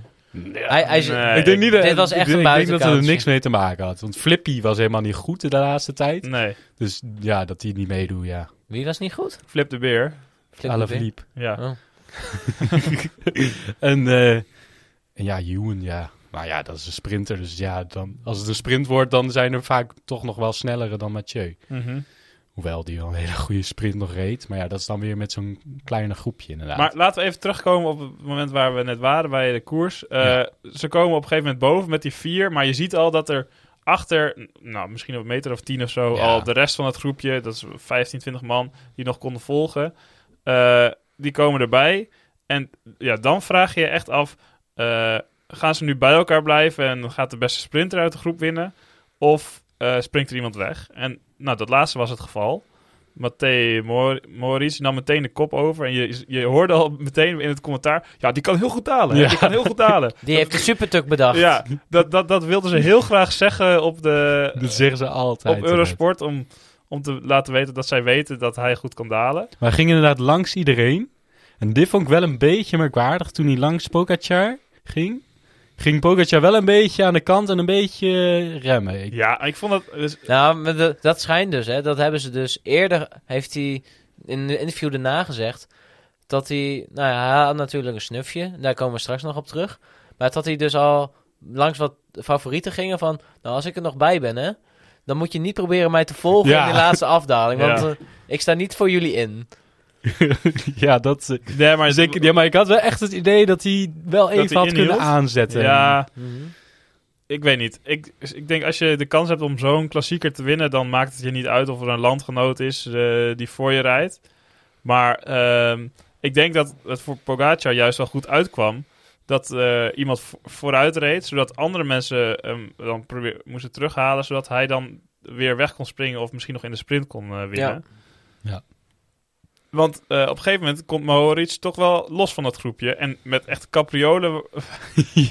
Hij, hij,
Nee.
Ik denk niet dat,
Dit was
ik
echt
denk-
een
Ik denk dat het er
buitenkansje.
niks mee te maken had. Want Flippy was helemaal niet goed de laatste tijd.
Nee,
Dus ja, dat hij niet meedoet, ja.
Wie was niet goed?
Flip de Beer.
Flip
Alaphilippe.
Ja.
Oh.
En, eh, en ja, Ewan, ja. Maar ja, dat is een sprinter. Dus ja, dan, als het een sprint wordt, dan zijn er vaak toch nog wel snellere dan Mathieu.
Mhm.
Hoewel die wel een hele goede sprint nog reed. Maar ja, dat is dan weer met zo'n kleine groepje inderdaad.
Maar laten we even terugkomen op het moment waar we net waren bij de koers. Eh,
Ja.
Ze komen op een gegeven moment boven met die vier, maar je ziet al dat er achter, nou misschien op een meter of tien of zo,
Ja.
al de rest van het groepje, dat is 15, 20 man, die nog konden volgen, eh, die komen erbij. En ja, dan vraag je je echt af, eh, gaan ze nu bij elkaar blijven en gaat de beste sprinter uit de groep winnen? Of eh, springt er iemand weg? En nou, dat laatste was het geval. Matthé Mor- Morris nam meteen de kop over. En je, je hoorde al meteen in het commentaar... Ja, die kan heel goed dalen. hè.
Ja.
Die kan heel goed dalen.
*laughs* Die heeft de supertuk bedacht.
ja, dat, dat, dat wilden ze heel graag zeggen op, de,
dat zeggen ze altijd.
eh, op Eurosport... Om, om te laten weten dat zij weten dat hij goed kan dalen.
Maar hij ging inderdaad langs iedereen. En dit vond ik wel een beetje merkwaardig toen hij langs Pogacar ging. Ging Pogacar wel een beetje aan de kant en een beetje eh, remmen. Ik- *laughs*
Ja, ik vond dat... dus-
Nou, maar de- dat schijnt dus, hè. Dat hebben ze dus eerder... Heeft hij in een interview daarna gezegd... Dat hij... Nou ja, hij had natuurlijk een snufje. Daar komen we straks nog op terug. Maar dat hij dus al langs wat favorieten gingen van... Nou, als ik er nog bij ben, hè. Dan moet je niet proberen mij te volgen
Ja.
in die laatste afdaling. Want
Ja.
eh, ik sta niet voor jullie in.
ja, dat, eh,
nee, maar
zeker. ja, maar ik had wel echt het idee dat hij wel even
hij
had kunnen
inhield?
aanzetten.
Ja, ik weet niet. Ik, ik denk als je de kans hebt om zo'n klassieker te winnen, dan maakt het je niet uit of er een landgenoot is eh, die voor je rijdt. Maar ehm, ik denk dat het voor Pogacar juist wel goed uitkwam dat eh, iemand vo- vooruit reed, zodat andere mensen hem dan probeer- moesten terughalen, zodat hij dan weer weg kon springen of misschien nog in de sprint kon eh, winnen.
Ja. Ja.
Want eh, op een gegeven moment komt Mohoric toch wel los van dat groepje. En met echt capriolen
*laughs*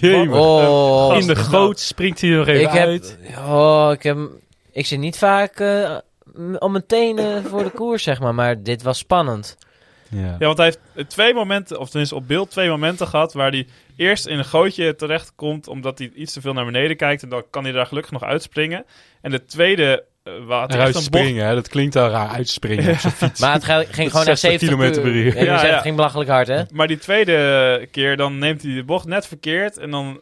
Jemig.
Oh,
In de goot springt hij er nog even
ik heb,
uit.
oh, ik heb, ik zit niet vaak eh, m- op mijn tenen voor de koers, zeg maar, maar dit was spannend.
Ja.
Ja, want hij heeft twee momenten, of tenminste op beeld twee momenten gehad... waar hij eerst in een gootje terechtkomt omdat hij iets te veel naar beneden kijkt... en dan kan hij daar gelukkig nog uitspringen. En de tweede, eh waar het
Eruit
echt een bocht...
springen, hè. dat klinkt al raar. Uitspringen op *laughs* zijn fiets.
Maar het ga- ging gewoon naar
60
70
kilometer per uur.
Ja, dus
Ja,
echt,
ja. Eh,
Het ging belachelijk hard, hè?
Maar die tweede eh, keer, dan neemt hij de bocht net verkeerd... en dan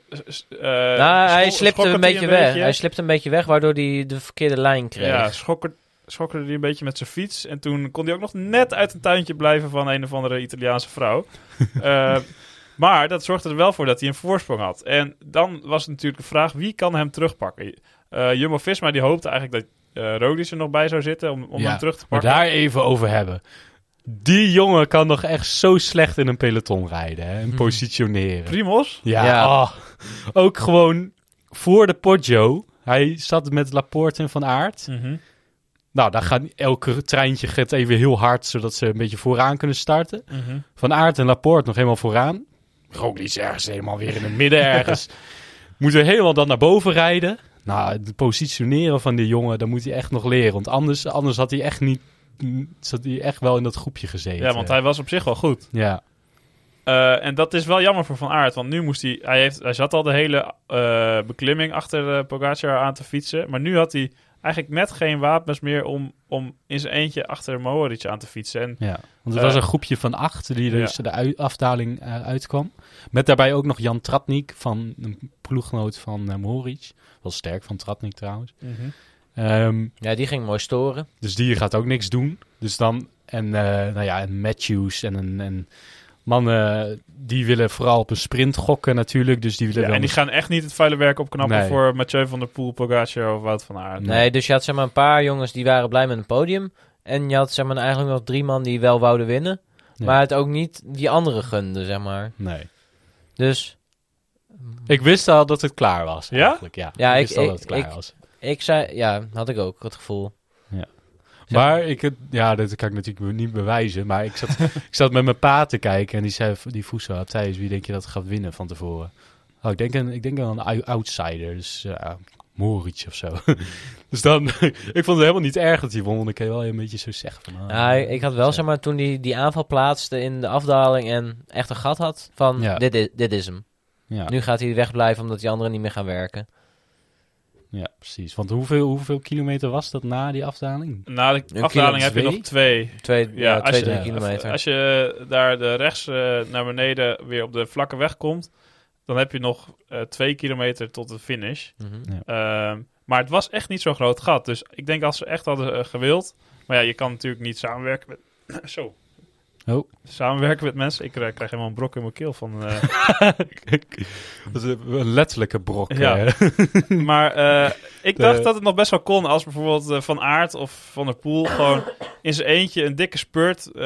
eh
nou, hij
schol-
slipte
schokkert
een beetje
hij
weg. Hij slipte een beetje weg, waardoor hij de verkeerde lijn kreeg.
Ja, schokker- schokkerde hij een beetje met zijn fiets. En toen kon hij ook nog net uit een tuintje blijven van een of andere Italiaanse
*laughs*
vrouw. Eh, maar dat zorgde er wel voor dat hij een voorsprong had. En dan was het natuurlijk de vraag, wie kan hem terugpakken? Eh Jumbo-Visma die hoopte eigenlijk dat eh Roglic er nog bij zou zitten om, om
Ja,
hem terug te
Maar
pakken.
daar even over hebben. Die jongen kan nog echt zo slecht in een peloton rijden hè, en
Hm.
positioneren.
Primos?
Ja,
Ja.
ah. ook gewoon voor de Poggio. Hij zat met Laporte en Van Aert. Nou, dan gaat elke treintje gaat even heel hard, zodat ze een beetje vooraan kunnen starten. Van Aert en Laporte nog helemaal vooraan. Roglic ergens helemaal weer in het
*laughs*
midden ergens. Moeten we helemaal dan naar boven rijden. Nou, het positioneren van die jongen, dat moet hij echt nog leren. Want anders, anders had hij echt niet... mm, Zat hij echt wel in dat groepje gezeten.
Ja, want hij was op zich wel goed.
Ja,
Eh, en dat is wel jammer voor Van Aert, want nu moest hij... Hij, heeft, hij zat al de hele eh, beklimming achter eh Pogacar aan te fietsen. Maar nu had hij eigenlijk net geen wapens meer om, om in zijn eentje achter Mohoric aan te fietsen. En
ja. Want het
Eh,
was een groepje van acht die dus de ui- afdaling eh, uitkwam. Met daarbij ook nog Jan Tratnik, van een ploeggenoot van eh, Mohoric. Wel sterk van Tratnik trouwens.
Mhm.
Ehm,
Ja, die ging mooi storen.
Dus die gaat ook niks doen. Dus dan, en eh, nou ja, en Matthews en, en, en mannen eh, die willen vooral op een sprint gokken natuurlijk. Dus die willen
Ja,
wel
en die gaan echt niet het vuile werk opknappen
Nee.
voor Mathieu van der Poel, Pogacar of Wout van Aert.
Nee.
Nee, dus je had zeg maar een paar jongens die waren blij met een podium. En je had zeg maar, eigenlijk nog drie man die wel wouden winnen.
Ja.
Maar het ook niet die anderen gunden, zeg maar.
Nee.
Dus
Ik wist al dat het klaar was.
Ja?
Eigenlijk, ja.
Ja,
ik
ik-
wist al
ik-
dat het klaar
ik-
was.
ik zei, ja, had ik ook het gevoel.
Maar ik, het- ja, dat kan ik natuurlijk niet bewijzen. Maar ik zat, *laughs* ik zat met mijn pa te kijken en die, zei, die vroeg zo, Thijs, wie denk je dat gaat winnen van tevoren? Oh, ik denk een, ik denk aan een ou- outsider, dus ja, Moritz of zo. *laughs* dus dan, *laughs* ik vond het helemaal niet erg dat hij won, want ik kan je wel een beetje zo zeggen. Van, ah,
Ja, Nou, ik had wel,
zo.
zeg maar, toen die, die aanval plaatste in de afdaling en echt een gat had van,
Ja.
dit, is, dit is hem.
Ja,
Nu gaat hij wegblijven omdat die anderen niet meer gaan werken.
ja, precies. Want hoeveel, hoeveel kilometer was dat na die
*laughs*
afdaling?
Na de
kilo
afdaling heb je
twee?
nog twee.
Twee,
Ja,
ja,
als
twee
je-
drie
ja,
kilometer.
Als je daar de rechts eh, naar beneden weer op de vlakke weg komt, dan heb je nog eh, twee kilometer tot de finish.
Mhm.
Ehm, maar het was echt niet zo'n groot gat. Dus ik denk als ze echt hadden eh, gewild. Maar ja, je kan natuurlijk niet samenwerken met. *clears throat* Zo.
Oh.
Samenwerken met mensen. Ik eh, krijg helemaal een brok in mijn keel van. eh,
dat is een letterlijke brok.
Ja.
eh.
maar eh, ik dacht
De-
dat het nog best wel kon als bijvoorbeeld eh, Van Aert of Van der Poel gewoon in zijn eentje een dikke spurt eh,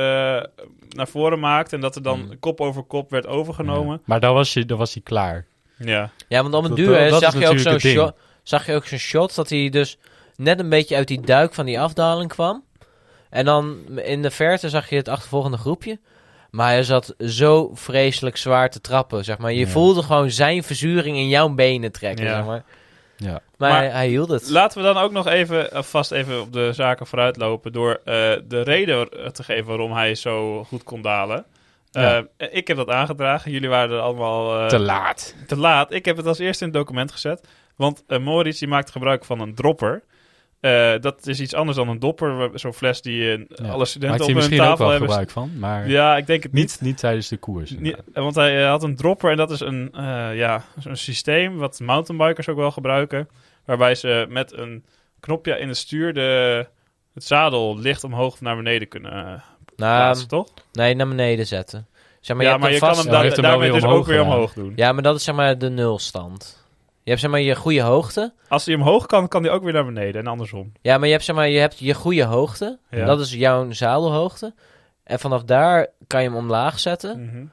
naar voren maakt. En dat er dan
Mm.
kop over kop werd overgenomen.
Ja. *laughs* Maar dan was, je, dan was hij klaar.
Ja.
Ja, want om
Dat-
het duur hè,
dat is
zag, je ook zo'n
natuurlijk het ding.
shot- zag je ook zo'n shot dat hij dus net een beetje uit die duik van die afdaling kwam. En dan in de verte zag je het achtervolgende groepje. Maar hij zat zo vreselijk zwaar te trappen, zeg maar. Je
Ja.
voelde gewoon zijn verzuring in jouw benen trekken,
Ja.
zeg maar.
Ja.
Maar,
Maar-
hij, hij hield het.
Laten we dan ook nog even eh, vast even op de zaken vooruitlopen door eh, de reden eh, te geven waarom hij zo goed kon dalen.
Ja.
Eh, ik heb dat aangedragen. Jullie waren er allemaal eh,
Te laat.
te laat. Ik heb het als eerste in het document gezet. Want eh Moritz die maakt gebruik van een dropper. Eh, dat is iets anders dan een dopper. wa- Zo'n fles die eh,
Ja.
alle studenten
Maakt
op
hij
hun
misschien ook
tafel
wel
hebben.
gebruik van, maar...
Ja, ik denk het niet.
Niet, niet tijdens de koers.
Nee, want hij eh, had een dropper en dat is een, eh, ja, een systeem wat mountainbikers ook wel gebruiken. Waarbij ze met een knopje in het stuur de, het zadel licht omhoog of naar beneden kunnen
Ehm,
eh,
Nou,
plaatsen, toch?
nee, naar beneden zetten. Zeg maar,
ja,
je hebt
maar je
vast...
kan hem,
Ja,
daar-
hij heeft hem wel
daarmee
weer
dus ook
omhoog
weer
gedaan.
omhoog doen.
Ja, maar dat is zeg maar de nulstand. Je hebt zeg maar je goede hoogte.
Als hij omhoog kan, kan hij ook weer naar beneden en andersom.
Ja, maar je hebt, zeg maar, je, hebt je goede hoogte.
Ja.
Dat is jouw zadelhoogte. En vanaf daar kan je hem omlaag zetten.
Mhm.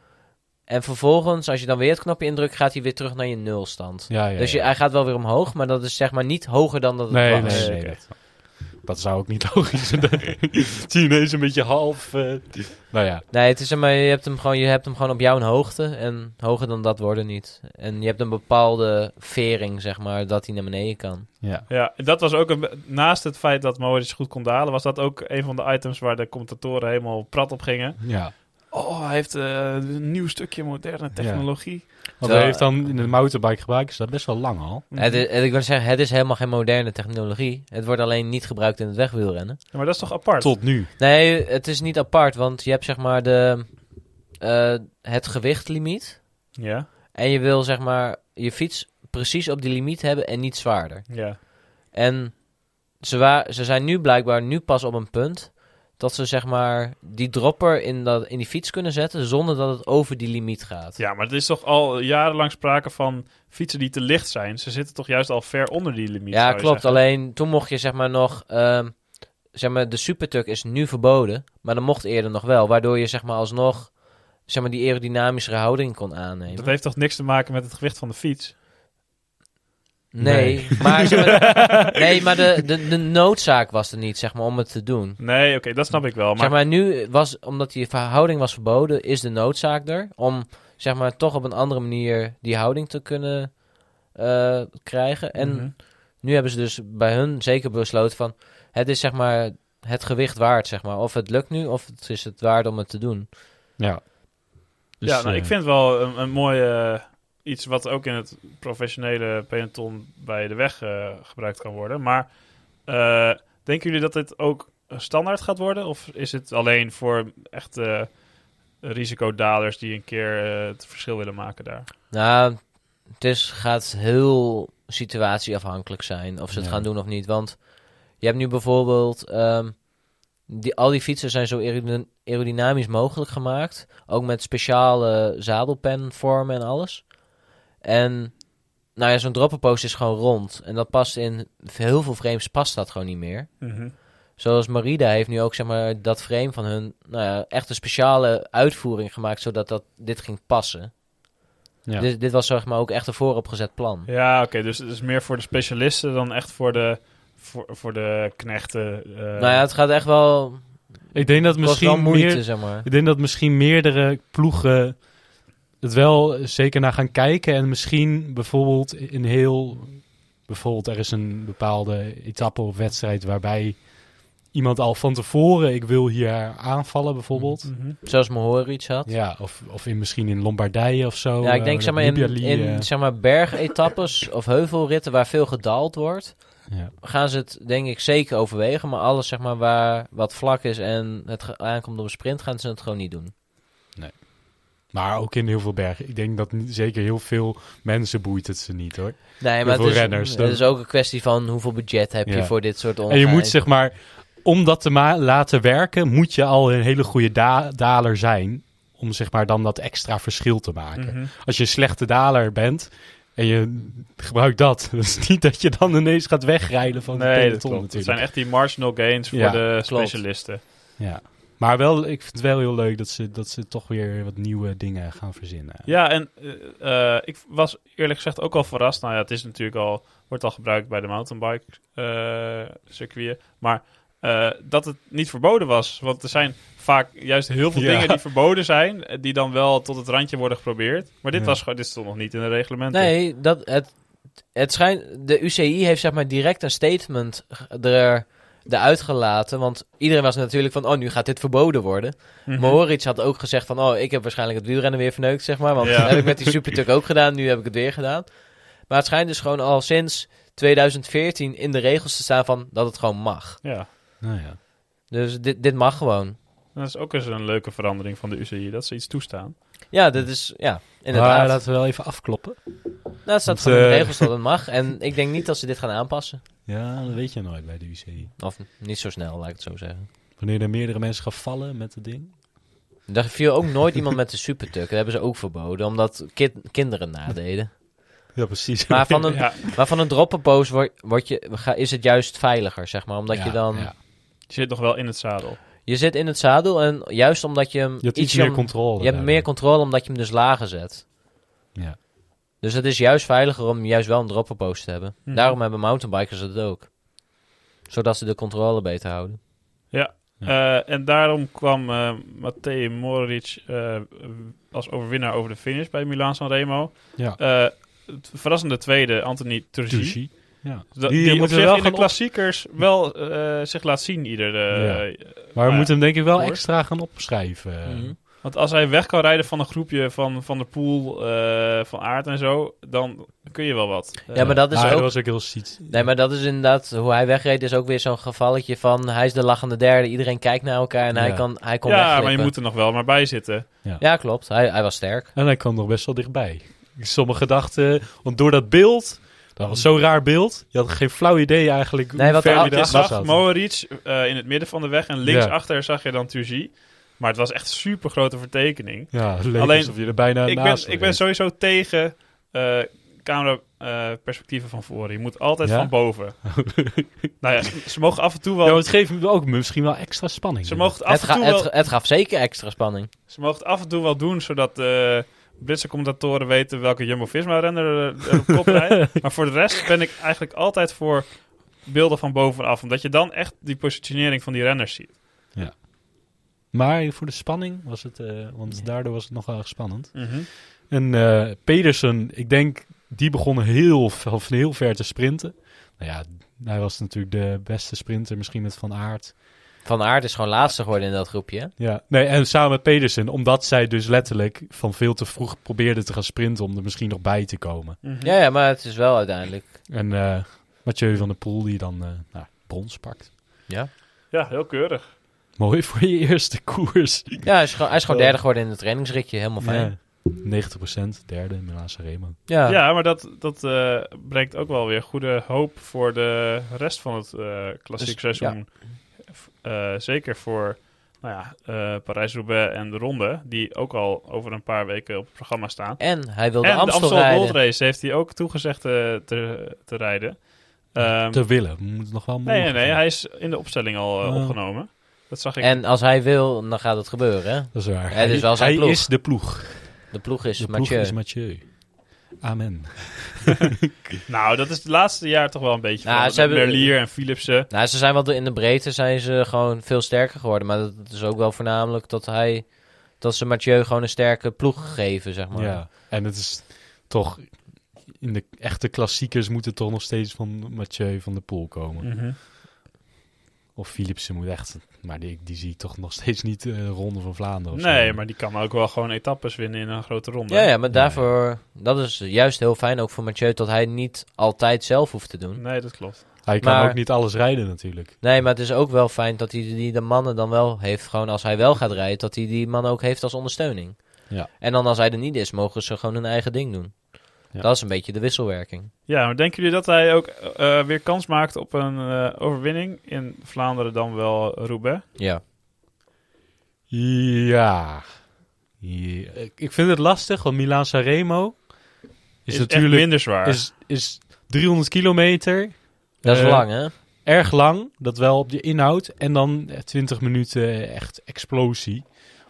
En vervolgens, als je dan weer het knopje indrukt, gaat hij weer terug naar je nulstand.
Ja, ja,
dus je,
ja.
hij gaat wel weer omhoog, maar dat is zeg maar niet hoger dan dat het
Nee,
was.
nee, nee, dat, dat zou ook niet logisch zijn. *laughs* Zie je ineens een beetje half... eh, nou ja,
Nee, het is, zeg maar, je, hebt hem gewoon, je hebt hem gewoon op jouw hoogte. En hoger dan dat worden niet. En je hebt een bepaalde vering, zeg maar, dat hij naar beneden kan.
ja.
Ja, en dat was ook een, naast het feit dat Moritz goed kon dalen, was dat ook een van de items waar de commentatoren helemaal prat op gingen.
ja.
Oh, hij heeft eh, een nieuw stukje moderne technologie.
Want
Terwijl-
hij heeft dan in de mountainbike gebruikt, is dat best wel lang al.
Mhm.
Het, is- het- ik wil zeggen, het is helemaal geen moderne technologie. Het wordt alleen niet gebruikt in het wegwielrennen.
Ja, maar dat is toch apart?
Tot nu.
Nee, het is niet apart, want je hebt zeg maar de, eh, het gewichtlimiet.
Ja,
En je wil zeg maar je fiets precies op die limiet hebben en niet zwaarder.
ja.
En ze, wa- ze zijn nu blijkbaar nu pas op een punt dat ze zeg maar die dropper in, dat, in die fiets kunnen zetten zonder dat het over die limiet gaat.
Ja, maar het is toch al jarenlang sprake van fietsen die te licht zijn. Ze zitten toch juist al ver onder die limiet.
Ja,
zou je
klopt.
zeggen.
Alleen toen mocht je zeg maar nog. ehm, zeg maar, de supertuk is nu verboden. Maar dat mocht eerder nog wel. Waardoor je zeg maar alsnog. Zeg maar, die aerodynamischere houding kon aannemen.
Dat heeft toch niks te maken met het gewicht van de fiets?
Nee, *laughs* maar,
*laughs*
zeg maar- nee, maar de, de, de noodzaak was er niet, zeg maar, om het te doen.
Nee, oké, dat snap ik wel. Maar,
zeg maar, nu was, omdat die verhouding was verboden, is de noodzaak er om, zeg maar, toch op een andere manier die houding te kunnen eh, krijgen. En
Mhm.
nu hebben ze dus bij hun zeker besloten van, het is zeg maar het gewicht waard, zeg maar. Of het lukt nu, of het is het waard om het te doen.
Ja. Dus,
ja, nou,
eh,
ik vind wel een, een mooi eh, iets wat ook in het professionele peloton bij de weg eh, gebruikt kan worden. Maar eh, denken jullie dat dit ook standaard gaat worden? Of is het alleen voor echt eh, risicodalers die een keer eh, het verschil willen maken daar?
Nou, het is, gaat heel situatieafhankelijk zijn of ze het
Ja.
gaan doen of niet. Want je hebt nu bijvoorbeeld... ehm, die, al die fietsen zijn zo aerody- aerodynamisch mogelijk gemaakt. Ook met speciale zadelpenvormen en alles. En nou ja,
Mhm.
zo'n dropperpost is gewoon rond. En dat past in heel veel frames past dat gewoon niet meer. Zoals Marida heeft nu ook zeg maar, dat frame van hun nou ja, echt een speciale uitvoering gemaakt, zodat dat, dit ging passen.
Ja.
Dit, dit was zeg maar, ook echt een vooropgezet plan.
Ja, oké. dus het is meer voor de specialisten dan echt voor de, voor, voor de knechten. eh.
nou ja, het gaat echt wel,
ik denk dat
het kost wel
misschien
moeite,
meer,
zeg maar.
ik denk dat misschien meerdere ploegen het wel zeker naar gaan kijken en misschien bijvoorbeeld in heel bijvoorbeeld er is een bepaalde etappe of wedstrijd waarbij iemand al van tevoren ik wil hier aanvallen
Mm.
bijvoorbeeld.
Mhm.
Zoals Mohoric had.
Ja, of, of in, misschien in Lombardije of zo.
Ja, ik
eh,
denk zeg maar, in,
Nibali, eh,
in zeg maar,
*laughs*
bergetappes of heuvelritten waar veel gedaald wordt,
ja.
gaan ze het denk ik zeker overwegen. Maar alles zeg maar, waar wat vlak is en het ge- aankomt op een sprint, gaan ze het gewoon niet doen.
Maar ook in heel veel bergen. Ik denk dat niet, zeker heel veel mensen boeit het ze niet hoor.
Nee, maar het
veel
is,
renners,
het
dan-
is ook een kwestie van hoeveel budget heb
Ja.
je voor dit soort
En je
ongein.
moet zeg maar, om dat te ma- laten werken, moet je al een hele goede da- daler zijn. Om zeg maar dan dat extra verschil te maken.
Mhm.
Als je een slechte daler bent en je gebruikt dat. *laughs* Dat is niet dat je dan ineens gaat wegrijden van de
Nee, dat
peloton
klopt. Het
natuurlijk.
zijn echt die marginal gains voor
Ja,
de
klopt.
specialisten.
ja. Maar wel, ik vind het wel heel leuk dat ze, dat ze toch weer wat nieuwe dingen gaan verzinnen.
Ja, en eh, eh, ik was eerlijk gezegd ook al verrast. Nou ja, het is natuurlijk al, wordt al gebruikt bij de mountainbike eh circuit. Maar eh, dat het niet verboden was. Want er zijn vaak juist heel veel
Ja.
dingen die verboden zijn, eh, die dan wel tot het randje worden geprobeerd. Maar dit,
Ja.
was, gewoon- dit stond nog niet in de reglementen.
Nee, dat, het, het schijnt, de UCI heeft zeg maar direct een statement g- er, eruit gelaten. Want iedereen was natuurlijk van, oh nu gaat dit verboden worden.
Mhm.
Mohoric had ook gezegd van, oh, ik heb waarschijnlijk het wielrennen weer verneukt, zeg maar. Want
Ja.
dat heb ik met die Supertuk ook gedaan, nu heb ik het weer gedaan. Maar het schijnt dus gewoon al sinds 2014 in de regels te staan van dat het gewoon mag.
Ja,
Nou ja.
Dus dit, dit mag gewoon.
dat is ook eens een leuke verandering van de UCI, dat ze iets toestaan.
Ja, dat is, ja,
Maar
inderdaad.
laten we wel even afkloppen.
Nou, het staat
Want,
gewoon in de
eh,
regels dat het mag. En ik denk niet dat ze dit gaan aanpassen.
Ja, dat weet je nooit bij de UCI.
Of niet zo snel, laat ik het zo zeggen.
Wanneer er meerdere mensen gaan vallen met het ding.
Er viel ook
*laughs*
nooit iemand met de Supertuk. Dat hebben ze ook verboden, omdat kin- kinderen nadeden.
*laughs* Ja, precies.
Maar van een,
Ja,
maar van een droppenpoos word, word je, ga- is het juist veiliger, zeg maar. Omdat je dan...
je zit nog wel in het zadel.
Je zit in het zadel en juist omdat je hem
Je hebt iets
ietsje
meer
om-
controle.
Je hebt meer controle omdat je hem dus lager zet.
Ja.
Dus het is juist veiliger om juist wel een dropperpost te hebben.
Mhm.
Daarom hebben mountainbikers het ook. Zodat ze de controle beter houden.
Eh, en daarom kwam eh Matej Moric eh, als overwinnaar over de finish bij Milan San Remo.
Ja.
Eh, het verrassende tweede, Anthony Turgi.
Sushi. Ja.
Da-
Die
Die, op
moeten we
zich in
wel gaan
de
op-
klassiekers wel eh, zich laat zien ieder. eh,
Maar we
ja,
moeten hem denk ik wel
hoor.
extra gaan opschrijven. Eh,
Mhm.
Want als hij weg kan rijden van een groepje van, van de pool eh, van aard en zo, dan kun je wel wat. Eh,
Ja, maar dat is
Ah,
ook-
was ook heel ziet.
Nee, maar dat is inderdaad... Hoe hij wegreed is ook weer zo'n gevalletje van... Hij is de lachende derde. Iedereen kijkt naar elkaar en hij,
Ja.
kan, hij kon
ja,
wegglippen.
maar je moet er nog wel maar bij zitten.
Ja, klopt. Hij, hij was sterk.
En hij kwam nog best wel dichtbij. Sommige dachten, want door dat beeld, dat was zo'n raar beeld. Je had geen flauw idee eigenlijk
Nee,
hoe
wat
ver
de
je
achter-
Je
erachter
zag
zat.
Mohoric eh, in het midden van de weg en links
Ja.
achter zag je dan Turgi. Maar het was echt een super grote vertekening.
Ja, het leek
Alleen,
alsof je er bijna
ik ben,
Eh, naast
ik ben
reed.
sowieso tegen eh cameraperspectieven van voren. Je moet altijd
Ja?
van boven. nou ja, ze mogen af en toe wel.
Ja, maar het geeft hem ook misschien wel extra spanning.
ze, mogen het
Het,
af en
ga,
toe
het,
wel,
het gaf zeker extra spanning.
ze mogen het af en toe wel doen, zodat de Britse commentatoren weten welke Jumbo-Visma-renner er- er op kop rijdt. Maar voor de rest ben ik eigenlijk altijd voor beelden van bovenaf. Omdat je dan echt die positionering van die renners ziet.
Maar voor de spanning was het, eh, want daardoor was het nogal erg spannend.
Mhm.
En eh, Pedersen, ik denk, die begon heel, veel- van heel ver te sprinten. Nou ja, hij was natuurlijk de beste sprinter, misschien met Van Aert.
Van Aert is gewoon laatste geworden in dat groepje. hè?
Ja, nee, en samen met Pedersen, omdat zij dus letterlijk van veel te vroeg probeerde te gaan sprinten om er misschien nog bij te komen.
Mhm.
Ja, ja, maar het is wel uiteindelijk...
En eh Mathieu van der Poel, die dan eh nou, brons pakt.
Ja,
ja, heel keurig.
Mooi voor je eerste koers.
ja hij, is gewoon, hij is gewoon derde geworden in het trainingsritje. Helemaal fijn.
Ja, 90% derde, Milan Remo.
Ja.
Ja, maar dat, dat eh, brengt ook wel weer goede hoop voor de rest van het eh, klassiek
Dus,
seizoen. F- eh, zeker voor nou ja, eh, Parijs-Roubaix en de Ronde, die ook al over een paar weken op het programma staan.
En hij wilde
en de
Amstel,
Amstel
rijden.
Gold Race heeft hij ook toegezegd eh, te, te rijden. Ehm,
te willen. We moeten nog wel
nee, nee,
morgen
nee,
gaan.
hij is in de opstelling al eh,
Oh.
opgenomen. Dat zag ik.
En als hij wil, dan gaat het gebeuren. hè?
Dat is waar.
Het is wel zijn
hij
ploeg.
is de ploeg.
De ploeg is
De ploeg
Mathieu.
is Mathieu. Amen.
nou, dat is het laatste jaar toch wel een beetje.
Nou,
van,
ze hebben-
Merlier en Philipsen.
Nou, ze zijn wel de- in de breedte zijn ze gewoon veel sterker geworden. Maar dat is ook wel voornamelijk dat hij... Dat ze Mathieu gewoon een sterke ploeg geven, zeg maar.
Ja. En het is toch... In de echte klassiekers moet het toch nog steeds van Mathieu van de Poel komen. Of Philipsen moet echt... Maar die, die zie ik toch nog steeds niet eh, de Ronde van Vlaanderen of zo.
Nee, maar die kan ook wel gewoon etappes winnen in een grote ronde.
Ja, ja, maar
Ja,
daarvoor... Dat is juist heel fijn ook voor Mathieu... dat hij niet altijd zelf hoeft te doen.
Nee, dat klopt.
Hij kan
maar-
ook niet alles rijden natuurlijk.
Nee, maar het is ook wel fijn dat hij die, de mannen dan wel heeft. Gewoon als hij wel gaat rijden, dat hij die mannen ook heeft als ondersteuning.
Ja.
En dan als hij er niet is, mogen ze gewoon hun eigen ding doen.
Ja.
Dat is een beetje de wisselwerking.
Ja, maar denken jullie dat hij ook eh, weer kans maakt op een eh, overwinning in Vlaanderen dan wel Roubaix?
Ja.
Ja. Ja. Ik- Ik vind het lastig, want Milaan Sanremo is,
echt
natuurlijk
minder zwaar.
is, is 300 kilometer.
Dat is
Eh,
lang, hè?
Erg lang, dat wel op de inhoud. En dan eh, 20 minuten eh, echt explosie.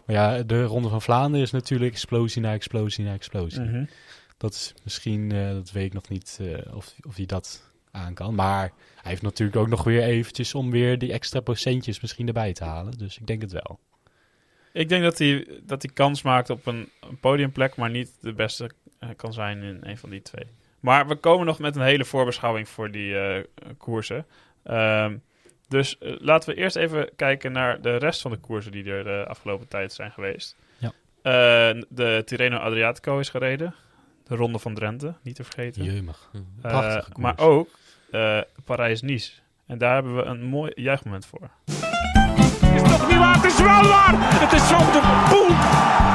Maar ja, de Ronde van Vlaanderen is natuurlijk explosie na explosie na explosie.
Mhm.
Dat is misschien, eh, dat weet ik nog niet eh, of, of hij dat aan kan. Maar hij heeft natuurlijk ook nog weer eventjes om weer die extra procentjes misschien erbij te halen. Dus ik denk het wel.
Ik denk dat hij, dat hij kans maakt op een, een podiumplek, maar niet de beste eh, kan zijn in een van die twee. Maar we komen nog met een hele voorbeschouwing voor die eh, koersen. Ehm, dus eh, laten we eerst even kijken naar de rest van de koersen die er de afgelopen tijd zijn geweest.
Ja.
Eh, de Tirreno Adriatico is gereden. De Ronde van Drenthe, niet te vergeten.
Jeumig.
Eh,
prachtige koers.
maar ook eh, Parijs-Nice. En daar hebben we een mooi juichmoment voor.
is toch niet waar? Het is wel waar! Het is van de Poel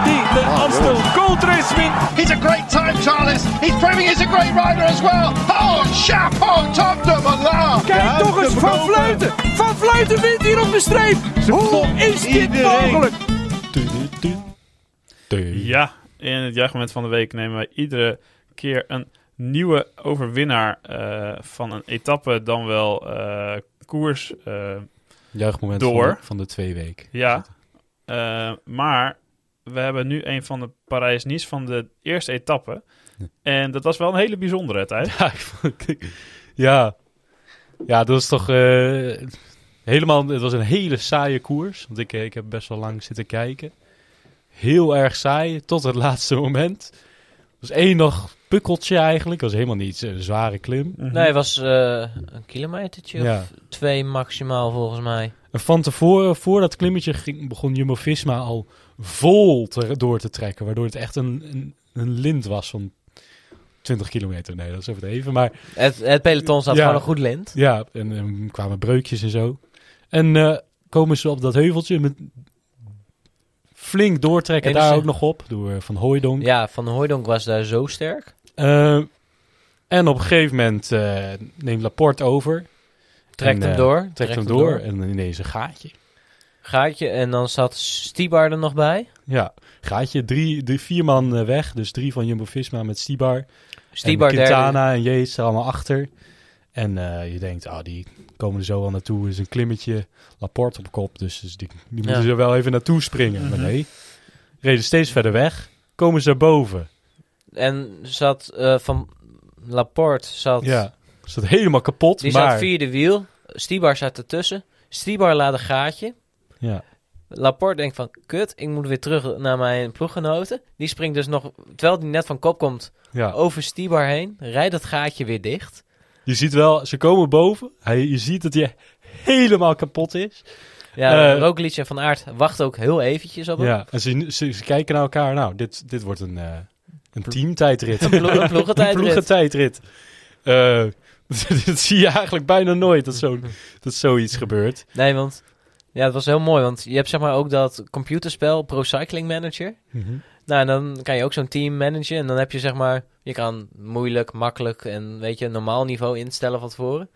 die de Amstel Gold Race wint.
He's a great time, Charles. He's proving he's a great rider as well. Oh, chapeau, top de malade.
Kijk toch eens, Van Vleuten! Van Vleuten wint hier op de streep! Hoe is dit mogelijk?
Ja, in het juichmoment van de week nemen wij iedere keer een nieuwe overwinnaar eh, van een etappe, dan wel eh, koers. eh,
Juichmoment
Door.
Van, de, van de twee weken.
ja, Eh, maar we hebben nu een van de Parijs-Nice van de eerste etappe. En dat was wel een hele bijzondere tijd.
Ja, *laughs* ik vond- ik- ja. ja, dat is toch eh, helemaal. Het was een hele saaie koers. Want ik, ik heb best wel lang zitten kijken. Heel erg saai tot het *laughs* laatste moment. Er was één nog pukkeltje eigenlijk. Dat was helemaal niet eh, een zware klim.
Mhm.
Nee, het was eh, een kilometertje
Ja.
of twee maximaal volgens mij.
En van tevoren, voor dat klimmetje, ging, begon Jumbo Visma al vol te- door te trekken. Waardoor het echt een, een, een lint was van 20 kilometer. Nee, dat is even even. Maar
Het, het peloton staat
Ja.
gewoon een goed lint.
Ja, en, en kwamen breukjes en zo. En eh, komen ze op dat heuveltje met flink doortrekken
Enigszins-
daar ook nog op door eh, Van Hooijdonk.
Ja, Van Hooijdonk was daar zo sterk.
Eh, en op een gegeven moment eh, neemt Laporte over.
Trekt
En,
hem
eh,
door.
Trekt, hem door, en ineens een gaatje.
Gaatje. En dan zat Stibar er nog bij.
Ja, gaatje. Drie, drie, vier man eh, weg. Dus drie van Jumbo-Visma met Stibar.
Stibar
en
derde.
Quintana en Yates er allemaal achter. En eh, je denkt, ah, die komen er zo wel naartoe. Er is een klimmetje, Laporte op kop. Dus, dus die, die moeten ze wel even naartoe springen. Maar nee, reden steeds verder weg. Komen ze daarboven.
En zat eh, Van Laporte zat...
Ja, is dat helemaal kapot.
Die
maar,
zat vierde wiel. Stibar zat ertussen. Stibar laat een gaatje.
Ja,
Laporte denkt van, kut, ik moet weer terug naar mijn ploeggenoten. Die springt dus nog, terwijl die net van kop komt,
ja.
over Stibar heen. Rijdt dat gaatje weer dicht.
Je ziet wel, ze komen boven. Hij, je ziet dat hij helemaal kapot is.
Ja,
Eh,
Roglic en Van Aert wachten ook heel eventjes op hem.
Ja, en ze, ze, ze kijken naar elkaar. Nou, dit, dit wordt een, eh een teamtijdrit.
Een ploeg-
*laughs*
een
Een
ploegentijdrit.
ploegentijdrit. Eh, *laughs* dat zie je eigenlijk bijna nooit dat, zo, dat zoiets gebeurt.
Nee, want ja, het was heel mooi. Want je hebt zeg maar ook dat computerspel Pro Cycling Manager. Nou, en dan kan je ook zo'n team managen. En dan heb je zeg maar, je kan moeilijk, makkelijk en weet je, een normaal niveau instellen van tevoren.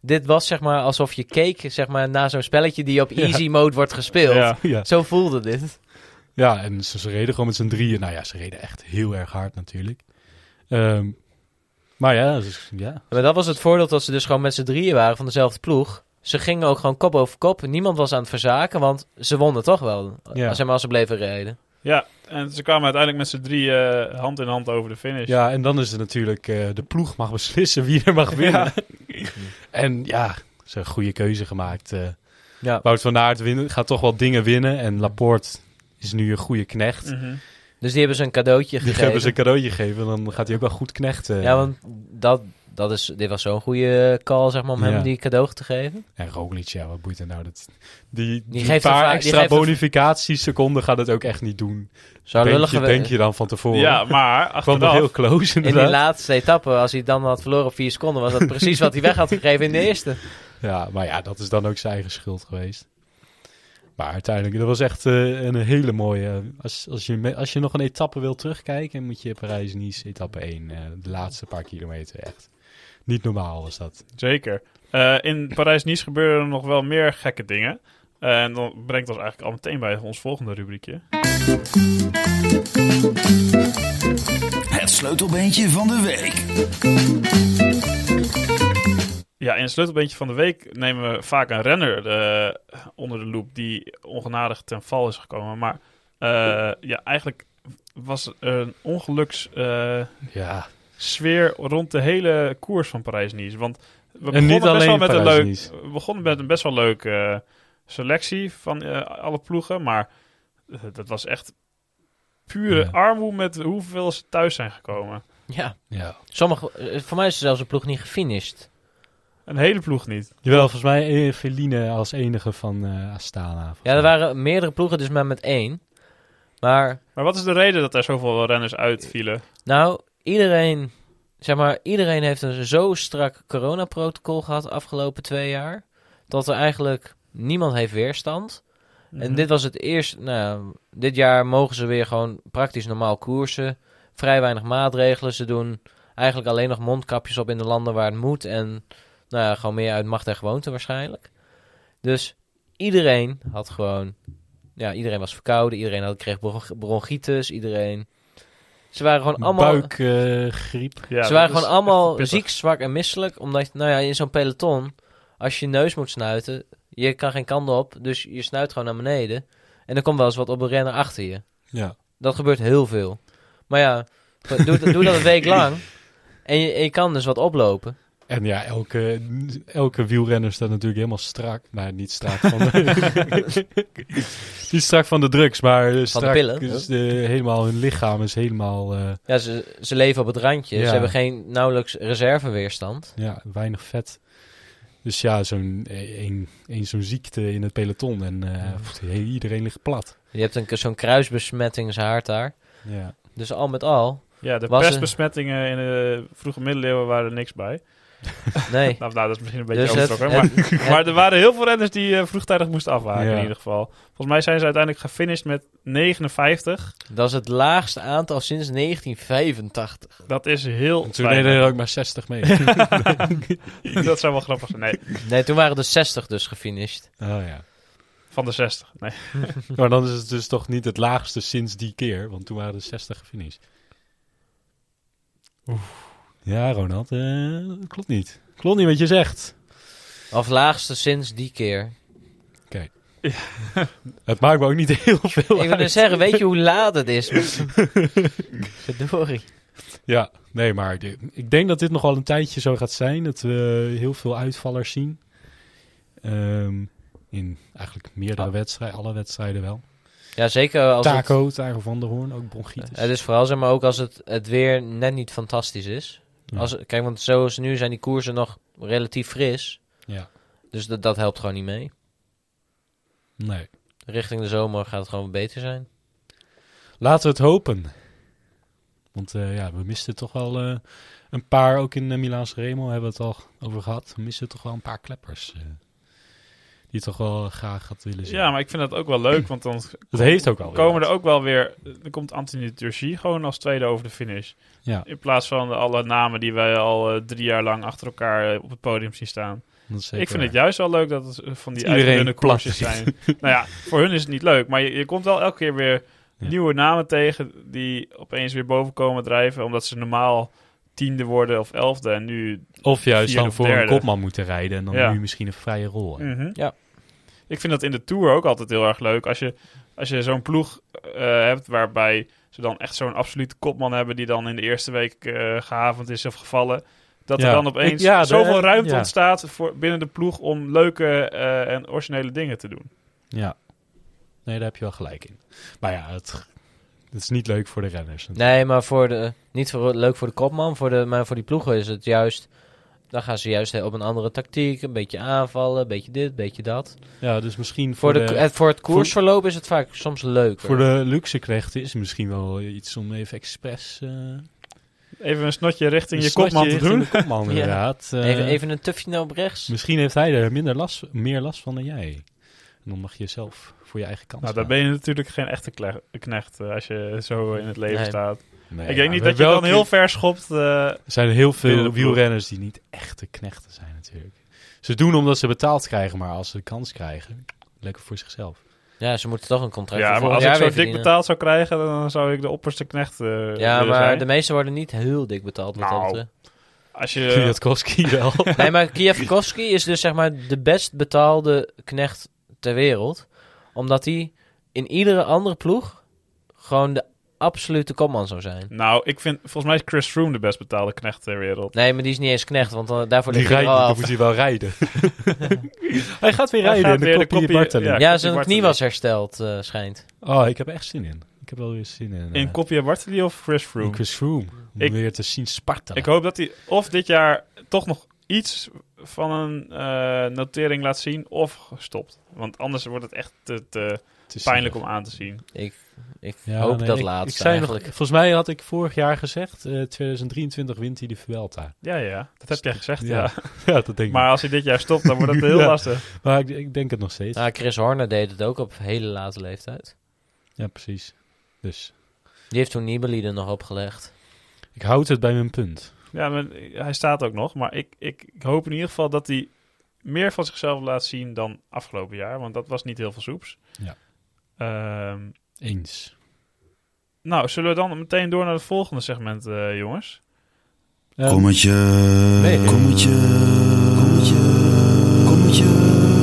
Dit was zeg maar alsof je keek zeg maar, naar zo'n spelletje die op easy mode wordt gespeeld.
Ja.
*laughs* Ja.
Zo voelde dit.
ja, en ze, ze reden gewoon met z'n drieën. Nou ja, ze reden echt heel erg hard natuurlijk. Ehm, Maar ja, dus, ja.
Maar dat was het voordeel dat ze dus gewoon met z'n drieën waren van dezelfde ploeg. Ze gingen ook gewoon kop over kop. Niemand was aan het verzaken, want ze wonnen toch wel.
Ja.
Zeg maar als ze bleven rijden.
Ja, en ze kwamen uiteindelijk met z'n drie eh, hand in hand over de finish.
ja, en dan is het natuurlijk... eh, de ploeg mag beslissen wie er mag
*laughs*
winnen. en ja, ze hebben een goede keuze gemaakt. eh.
Ja.
Wout van Aert winnen, gaat toch wel dingen winnen. En Laporte is nu een goede knecht.
Mhm.
Dus die hebben ze een cadeautje
Die
gegeven.
hebben ze een cadeautje gegeven. Dan gaat hij ook wel goed knechten.
Ja, want dat, dat is, dit was zo'n goede call, zeg maar, om
Ja.
hem die cadeau te geven.
En Roglic, ja, wat boeit het nou? Dat, die die,
geeft
paar
een va- die
extra
geeft een-
bonificatieseconden gaat het ook echt niet doen.
Zou
denk,
lullig
je,
gewe-
denk je dan van tevoren?
Ja, maar
kwam nog
achteraf...
heel close
In die
inderdaad.
laatste etappe, als hij dan had verloren op vier seconden, was dat precies wat hij weg had gegeven
*laughs*
in de eerste.
Ja, maar ja, dat is dan ook zijn eigen schuld geweest. Maar uiteindelijk, dat was echt eh, een hele mooie... eh, Als, als, je, me- als je nog een etappe wil terugkijken, moet je Parijs-Nice etappe 1. eh, de laatste paar kilometer, echt. Niet normaal was dat.
Zeker. Eh, in Parijs-Nice gebeuren er nog wel meer gekke dingen. Eh, en dan brengt ons eigenlijk al meteen bij ons volgende rubriekje.
Het sleutelbeentje van de week.
Ja, in het sleutelbeentje van de week nemen we vaak een renner eh, onder de loep die ongenadig ten val is gekomen. Maar eh, ja, eigenlijk was er een eh, ongelukssfeer
Ja,
sfeer rond de hele koers van Parijs-Nice. Want we
en
begonnen
niet
best wel
alleen
met een leuk,
Parijs-Nice.
we begonnen met een best wel leuke eh, selectie van eh, alle ploegen. Maar eh, dat was echt pure
Ja.
armoe met hoeveel ze thuis zijn gekomen.
Ja,
Ja.
sommige, eh, voor mij is er zelfs een ploeg niet gefinished.
Een hele ploeg niet.
Jawel, volgens mij eh, Feline als enige van eh, Astana. volgens
Ja, er
mij.
waren meerdere ploegen, dus maar met één. Maar
Maar wat is de reden dat er zoveel renners uitvielen?
Nou, iedereen, zeg maar, iedereen heeft een zo strak coronaprotocol gehad de afgelopen twee jaar. Dat er eigenlijk niemand heeft weerstand.
Mhm.
En dit was het eerste, nou, dit jaar mogen ze weer gewoon praktisch normaal koersen. Vrij weinig maatregelen. Ze doen eigenlijk alleen nog mondkapjes op in de landen waar het moet. En nou, ja, gewoon meer uit macht en gewoonte waarschijnlijk. Dus iedereen had gewoon, ja, iedereen was verkouden. Iedereen had, kreeg bron- bronchitis. Iedereen. Ze waren gewoon allemaal.
eh, Buikgriep.
Ja,
ze
dat
waren
is
gewoon
echt
allemaal
pittig.
ziek, zwak en misselijk. Omdat, nou ja, in zo'n peloton, als je neus moet snuiten, je kan geen kant op. Dus je snuit gewoon naar beneden. En er komt wel eens wat op een renner achter je.
ja.
Dat gebeurt heel veel. Maar ja,
*laughs*
doe, doe- doe dat een week lang. En je, en je kan dus wat oplopen.
En ja, elke, elke wielrenner staat natuurlijk helemaal strak. Nou, niet strak van *laughs* de... niet strak van de drugs, maar eh, strak...
pillen.
is, eh, helemaal hun lichaam is helemaal... eh,
Ja, ze, ze leven op het randje.
Ja.
Ze hebben geen nauwelijks reserveweerstand.
ja, weinig vet. Dus ja, zo'n eh, een, een, zo'n ziekte in het peloton. En eh, pff, iedereen ligt plat.
Je hebt een, zo'n kruisbesmettingshaard daar.
Ja.
Dus al met al,
Ja, de
was een-
pestbesmettingen in de vroege middeleeuwen waren er niks bij. *laughs*
nee.
Nou, nou dat is misschien een beetje
Dus het-
overtrokken. Maar,
het- het-
*laughs* maar er waren heel veel renners die eh, vroegtijdig moesten afwaken
Ja.
in ieder geval. Volgens mij zijn ze uiteindelijk gefinished met 59.
dat is het laagste aantal sinds 1985.
Dat is heel
En toen
weinig.
deden er ook maar 60 *laughs* mee.
*laughs* dat zou wel grappig zijn. Nee,
Nee, toen waren er 60 dus gefinished.
oh ja.
van de 60. Nee.
Maar dan is het dus toch niet het laagste sinds die keer, want toen waren er 60 gefinished. Oeh. Ja, Ronald, eh, dat klopt niet. Klopt niet wat je zegt.
Of laagste sinds die keer.
Het maakt me ook niet *laughs* heel veel
Ik wil
uit.
dus zeggen, weet je hoe laat het
*laughs*
is? Verdorie.
Ja, nee, maar de- ik denk dat dit nog wel een tijdje zo gaat zijn, dat we heel veel uitvallers zien. Ehm, in eigenlijk meerdere wedstrijden, alle wedstrijden wel.
Ja, zeker als het...
Taco, Taco van der Hoorn, ook bronchitis.
Het is vooral zeg maar ook als het, het weer net niet fantastisch is.
Ja.
Als, kijk, want zoals nu zijn die koersen nog relatief fris.
Ja,
Dus dat, dat helpt gewoon niet mee.
nee.
Richting de zomer gaat het gewoon beter zijn.
Laten we het hopen. Want eh, ja, we misten toch wel eh, een paar, ook in uh, Milaans Remo hebben we het al over gehad. We misten toch wel een paar kleppers. eh, die toch wel eh, graag had willen zien.
Ja, maar ik vind dat ook wel leuk, want dan
dat heeft ook wel. weer
komen
wat.
er ook wel weer... Dan komt Anthony Turgie gewoon als tweede over de finish.
Ja,
In plaats van alle namen die wij al eh, drie jaar lang achter elkaar eh, op het podium zien staan.
dat is zeker
Ik vind het
waar.
juist wel leuk dat het eh, van die
Dat iedereen
uitgedunde
plat
koersjes zijn. nou ja, voor hun is het niet leuk. Maar je, je komt wel elke keer weer
Ja.
nieuwe namen tegen die opeens weer boven komen drijven. Omdat ze normaal tiende worden of elfde. En nu...
Of juist
Vierde
dan
of
voor een
derde.
kopman moeten rijden en dan
Ja.
nu misschien een vrije rol. hebben.
Ja.
Mhm. Ik vind dat in de Tour ook altijd heel erg leuk. Als je, als je zo'n ploeg eh, hebt waarbij ze dan echt zo'n absolute kopman hebben... die dan in de eerste week eh, gehavend is of gevallen... Dat
Ja.
er dan opeens
Ik- ja, de-
zoveel ruimte
ja.
ontstaat voor, binnen de ploeg... om leuke eh, en originele dingen te doen.
Ja. Nee, daar heb je wel gelijk in. Maar ja, het, het is niet leuk voor de renners.
Nee, maar voor de, niet voor, leuk voor de kopman, voor de, maar voor die ploegen is het juist... Dan gaan ze juist op een andere tactiek, een beetje aanvallen, een beetje dit, een beetje dat.
Ja, dus misschien
Voor,
voor,
de,
de,
het, voor het koersverloop is het vaak soms leuker.
voor de luxe krechten is het misschien wel iets om even expres... eh,
Even een snotje richting
een
je kopman te
snotje
doen.
richting
*laughs*
de kopman,
Ja.
inderdaad. Eh,
even, even een tufje naar op rechts.
Misschien heeft hij er minder last, meer last van dan jij. En dan mag je zelf voor je eigen kans
Nou, daar ben je natuurlijk geen echte kle- knecht eh, als je zo in het leven
Nee.
staat. ik denk niet dat je dan heel ver schopt. eh,
Er zijn heel
Binnen de
veel
ploeg.
wielrenners die niet echte knechten zijn natuurlijk. Ze doen omdat ze betaald krijgen, maar als ze de kans krijgen, lekker voor zichzelf.
Ja, ze moeten toch een contract
ja,
voor
maar als
volgend
ik
jaar
zo
weer
dik
verdienen.
betaald zou krijgen, dan zou ik de opperste knecht eh
Ja,
willen
maar
zijn.
de meeste worden niet heel dik betaald. Wat dat
Nou.
betreft.
Als
Uh,
je, *laughs*
Kwiatkowski wel.
Nee, maar Kwiatkowski is dus zeg maar de best betaalde knecht ter wereld. Omdat hij in iedere andere ploeg gewoon de absolute kopman zou zijn.
nou, ik vind volgens mij is Chris Froome de best betaalde knecht ter wereld.
Nee, maar die is niet eens knecht, want dan- daarvoor
die
ligt hij er
rijdt,
al
dan
af.
moet hij wel
*laughs*
rijden. hij gaat weer
Hij
rijden
gaat
en de
weer de
kopie,
kopie-
bartelen.
ja.
Ja,
Koppie
zijn knie
Bartoli.
was hersteld, eh, schijnt.
Oh, ik heb er echt zin in. Ik heb wel weer zin in. eh,
In Kopje Bartoli of Chris
in
Froome?
Chris Froome. Om
Ik-
weer te zien spartelen.
Ik hoop dat hij of dit jaar toch nog iets van een eh, notering laat zien of stopt. Want anders wordt het echt te, te
Het is eh,
pijnlijk
zielig.
om aan te zien.
Ik, ik
Ja,
hoop
nee,
dat
ik-
laatste
ik zei nog-
eigenlijk.
volgens mij had ik vorig jaar gezegd, eh, 2023 wint hij de Vuelta.
Ja, ja, dat heb jij gezegd, ja.
Ja. *laughs* ja, dat denk ik.
Maar als hij dit jaar stopt, dan wordt
*laughs*
het heel
Ja.
lastig.
Maar ik, ik denk het nog steeds.
Nou, Chris Horner deed het ook op hele late leeftijd.
Ja, precies. Dus
Die heeft toen Nibali er nog opgelegd.
ik houd het bij mijn punt.
Ja, maar hij staat ook nog. Maar ik, ik, ik hoop in ieder geval dat hij meer van zichzelf laat zien dan afgelopen jaar. Want dat was niet heel veel soeps.
Ja.
Ehm,
Eens.
nou, zullen we dan meteen door naar het volgende segment, eh, jongens?
Eh,
Kommetje.
nee.
Kommetje. Kommetje. Kommetje.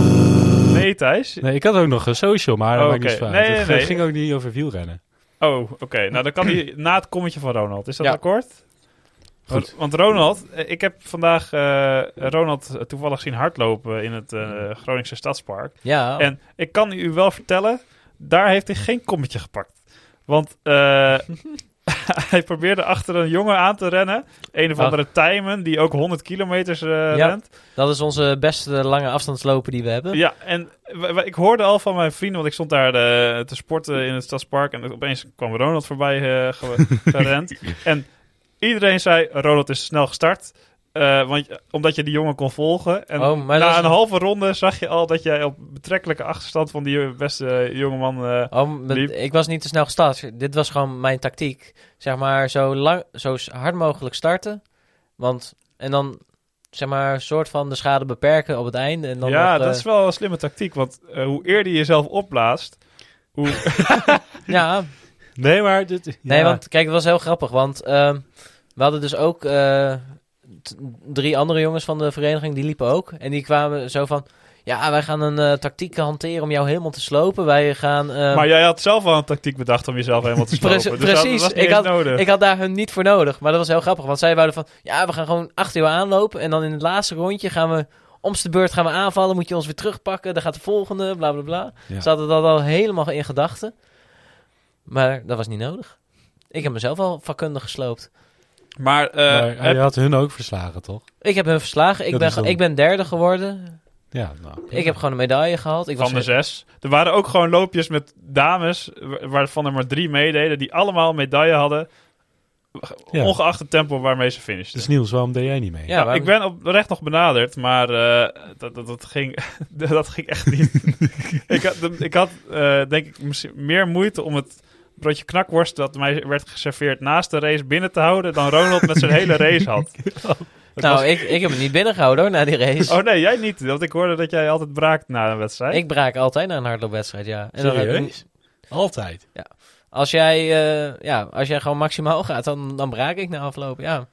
Nee, Thijs?
Nee, ik had ook nog een social, maar dat
Oh,
maakt niet
oké.
zwaar.
Nee,
*laughs* het
nee,
ging ook niet over wielrennen.
Oh, oké. Nou, dan kan
*clears throat*
hij na het kommetje van Ronald. Is dat
Ja.
akkoord?
Goed.
Want- Want Ronald, eh, ik heb vandaag eh, Ronald toevallig zien hardlopen in het
Mm.
eh, Groningse Stadspark.
Ja,
En ik kan u wel vertellen, daar heeft hij geen kommetje gepakt. Want
*laughs*
eh, *laughs* hij probeerde achter een jongen aan te rennen. Een of
Ach.
andere Tijmen, die ook 100 kilometers eh,
Oh. Ja.
rent.
dat is onze beste lange afstandsloper die we hebben.
Ja, en w- w- ik hoorde al van mijn vrienden, want ik stond daar eh, te sporten in het stadspark. En opeens kwam Ronald voorbij eh,
*laughs*
ge- gerend. en iedereen zei, Ronald is snel gestart. eh, want, je- omdat je die jongen kon volgen. En
Oh, maar dat
na
is-
een halve ronde zag je al dat jij op betrekkelijke achterstand van die beste jongeman... eh,
Oh, maar
Liep.
ik was niet te snel gestart. Dit was gewoon mijn tactiek. Zeg maar zo, lang, zo s- hard mogelijk starten. Want, en dan zeg maar een soort van de schade beperken op het einde. En dan
ja,
nog, eh,
dat is wel een slimme tactiek. Want eh, hoe eerder je jezelf opblaast... Hoe...
Ja,
Nee, maar dit... ja.
nee, want kijk, het was heel grappig. Want ehm, we hadden dus ook eh, t- drie andere jongens van de vereniging, die liepen ook. En die kwamen zo van... Ja, wij gaan een eh, tactiek hanteren om jou helemaal te slopen. Wij gaan... ehm,
maar jij had zelf al een tactiek bedacht om jezelf helemaal te slopen.
Prec-
dus dat-
*laughs* precies.
dat was niet
Ik
eens
had-
nodig.
Ik had daar hun niet voor nodig. Maar dat was heel grappig. Want zij wouden van... Ja, we gaan gewoon achter jou aanlopen. En dan in het laatste rondje gaan we... Omste beurt gaan we aanvallen. Moet je ons weer terugpakken. Dan gaat de volgende. Bla, bla, bla.
Ja.
Ze hadden dat al helemaal in gedachten. Maar dat was niet nodig. Ik heb mezelf al vakkundig gesloopt.
Maar, eh,
Maar
heb-
je had hun ook verslagen, toch?
Ik heb hun verslagen. Ik,
Dat
ben,
is dan-
ik ben derde geworden.
Ja, nou.
Ik heb gewoon een medaille gehaald. Ik
van de
was
zes. Er waren ook gewoon loopjes met dames, wa- waarvan er maar drie meededen, die allemaal medaille hadden,
Ja.
ongeacht het tempo waarmee ze finishten.
Dus Niels, waarom deed jij niet mee?
Ja,
Nou,
waarom-
Ik ben oprecht nog benaderd, maar eh, dat, dat, dat, ging, *laughs* dat ging echt niet. ik had, ik had eh, denk ik misschien meer moeite om het broodje knakworst dat mij werd geserveerd naast de race binnen te houden dan Ronald met zijn hele race had. Dat
Nou, ik, ik heb het niet binnengehouden hoor, na die race.
was- oh nee, jij niet, want ik hoorde dat jij altijd braakt na een wedstrijd.
Ik braak altijd na een hardloopwedstrijd, ja. En dan-
Serieus? *laughs* Altijd.
Als jij, eh, ja, als jij gewoon maximaal gaat, dan, dan braak ik na afloop. Ja.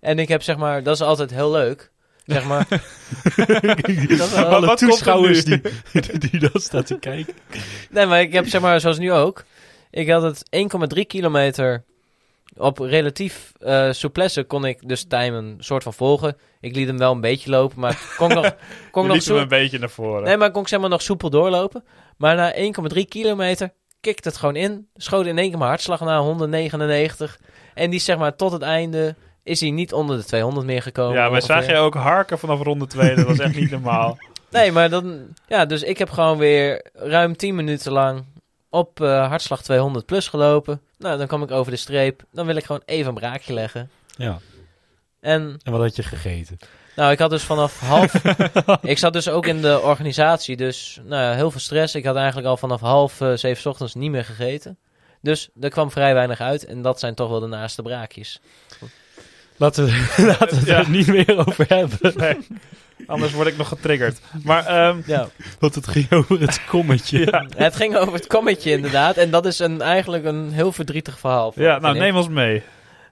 En ik heb zeg maar, dat is altijd heel leuk. Zeg maar, dat is wel-
wat
Alle
komt er
toeschouwers
nu?
*laughs*
die, die dat staat te kijken.
nee, maar ik heb zeg maar, zoals nu ook. Ik had het 1,3 kilometer op relatief eh souplesse kon ik dus time een soort van volgen. Ik liet hem wel een beetje lopen, maar ik kon nog, kon
Je
nog
liet hem
zo,
een beetje naar voren.
Nee, maar kon ik zeg maar nog soepel doorlopen. Maar na 1,3 kilometer kikt het gewoon in. Schoot in één keer mijn hartslag naar 199. En die zeg maar tot het einde is hij niet onder de 200 meer gekomen.
ja, maar
ongeveer.
zag je ook harken vanaf ronde 2? Dat was echt niet normaal.
*laughs* Nee, maar dan... Ja, dus ik heb gewoon weer ruim 10 minuten lang op eh, hartslag 200 plus gelopen. Nou, dan kom ik over de streep. Dan wil ik gewoon even een braakje leggen.
Ja.
En
En wat had je gegeten?
Nou, ik had dus vanaf half. ik zat dus ook in de organisatie, dus nou ja, heel veel stress. Ik had eigenlijk al vanaf half eh, zeven 's ochtends niet meer gegeten. Dus er kwam vrij weinig uit en dat zijn toch wel de naaste braakjes.
Laten we, *laughs* laten we het
Ja.
er niet meer over hebben.
Nee. Anders word ik nog getriggerd. Maar ehm,
Ja.
Want het ging over het kommetje.
het ging over het kommetje inderdaad en dat is een, eigenlijk een heel verdrietig verhaal.
ja, nou
vind ik.
neem ons mee.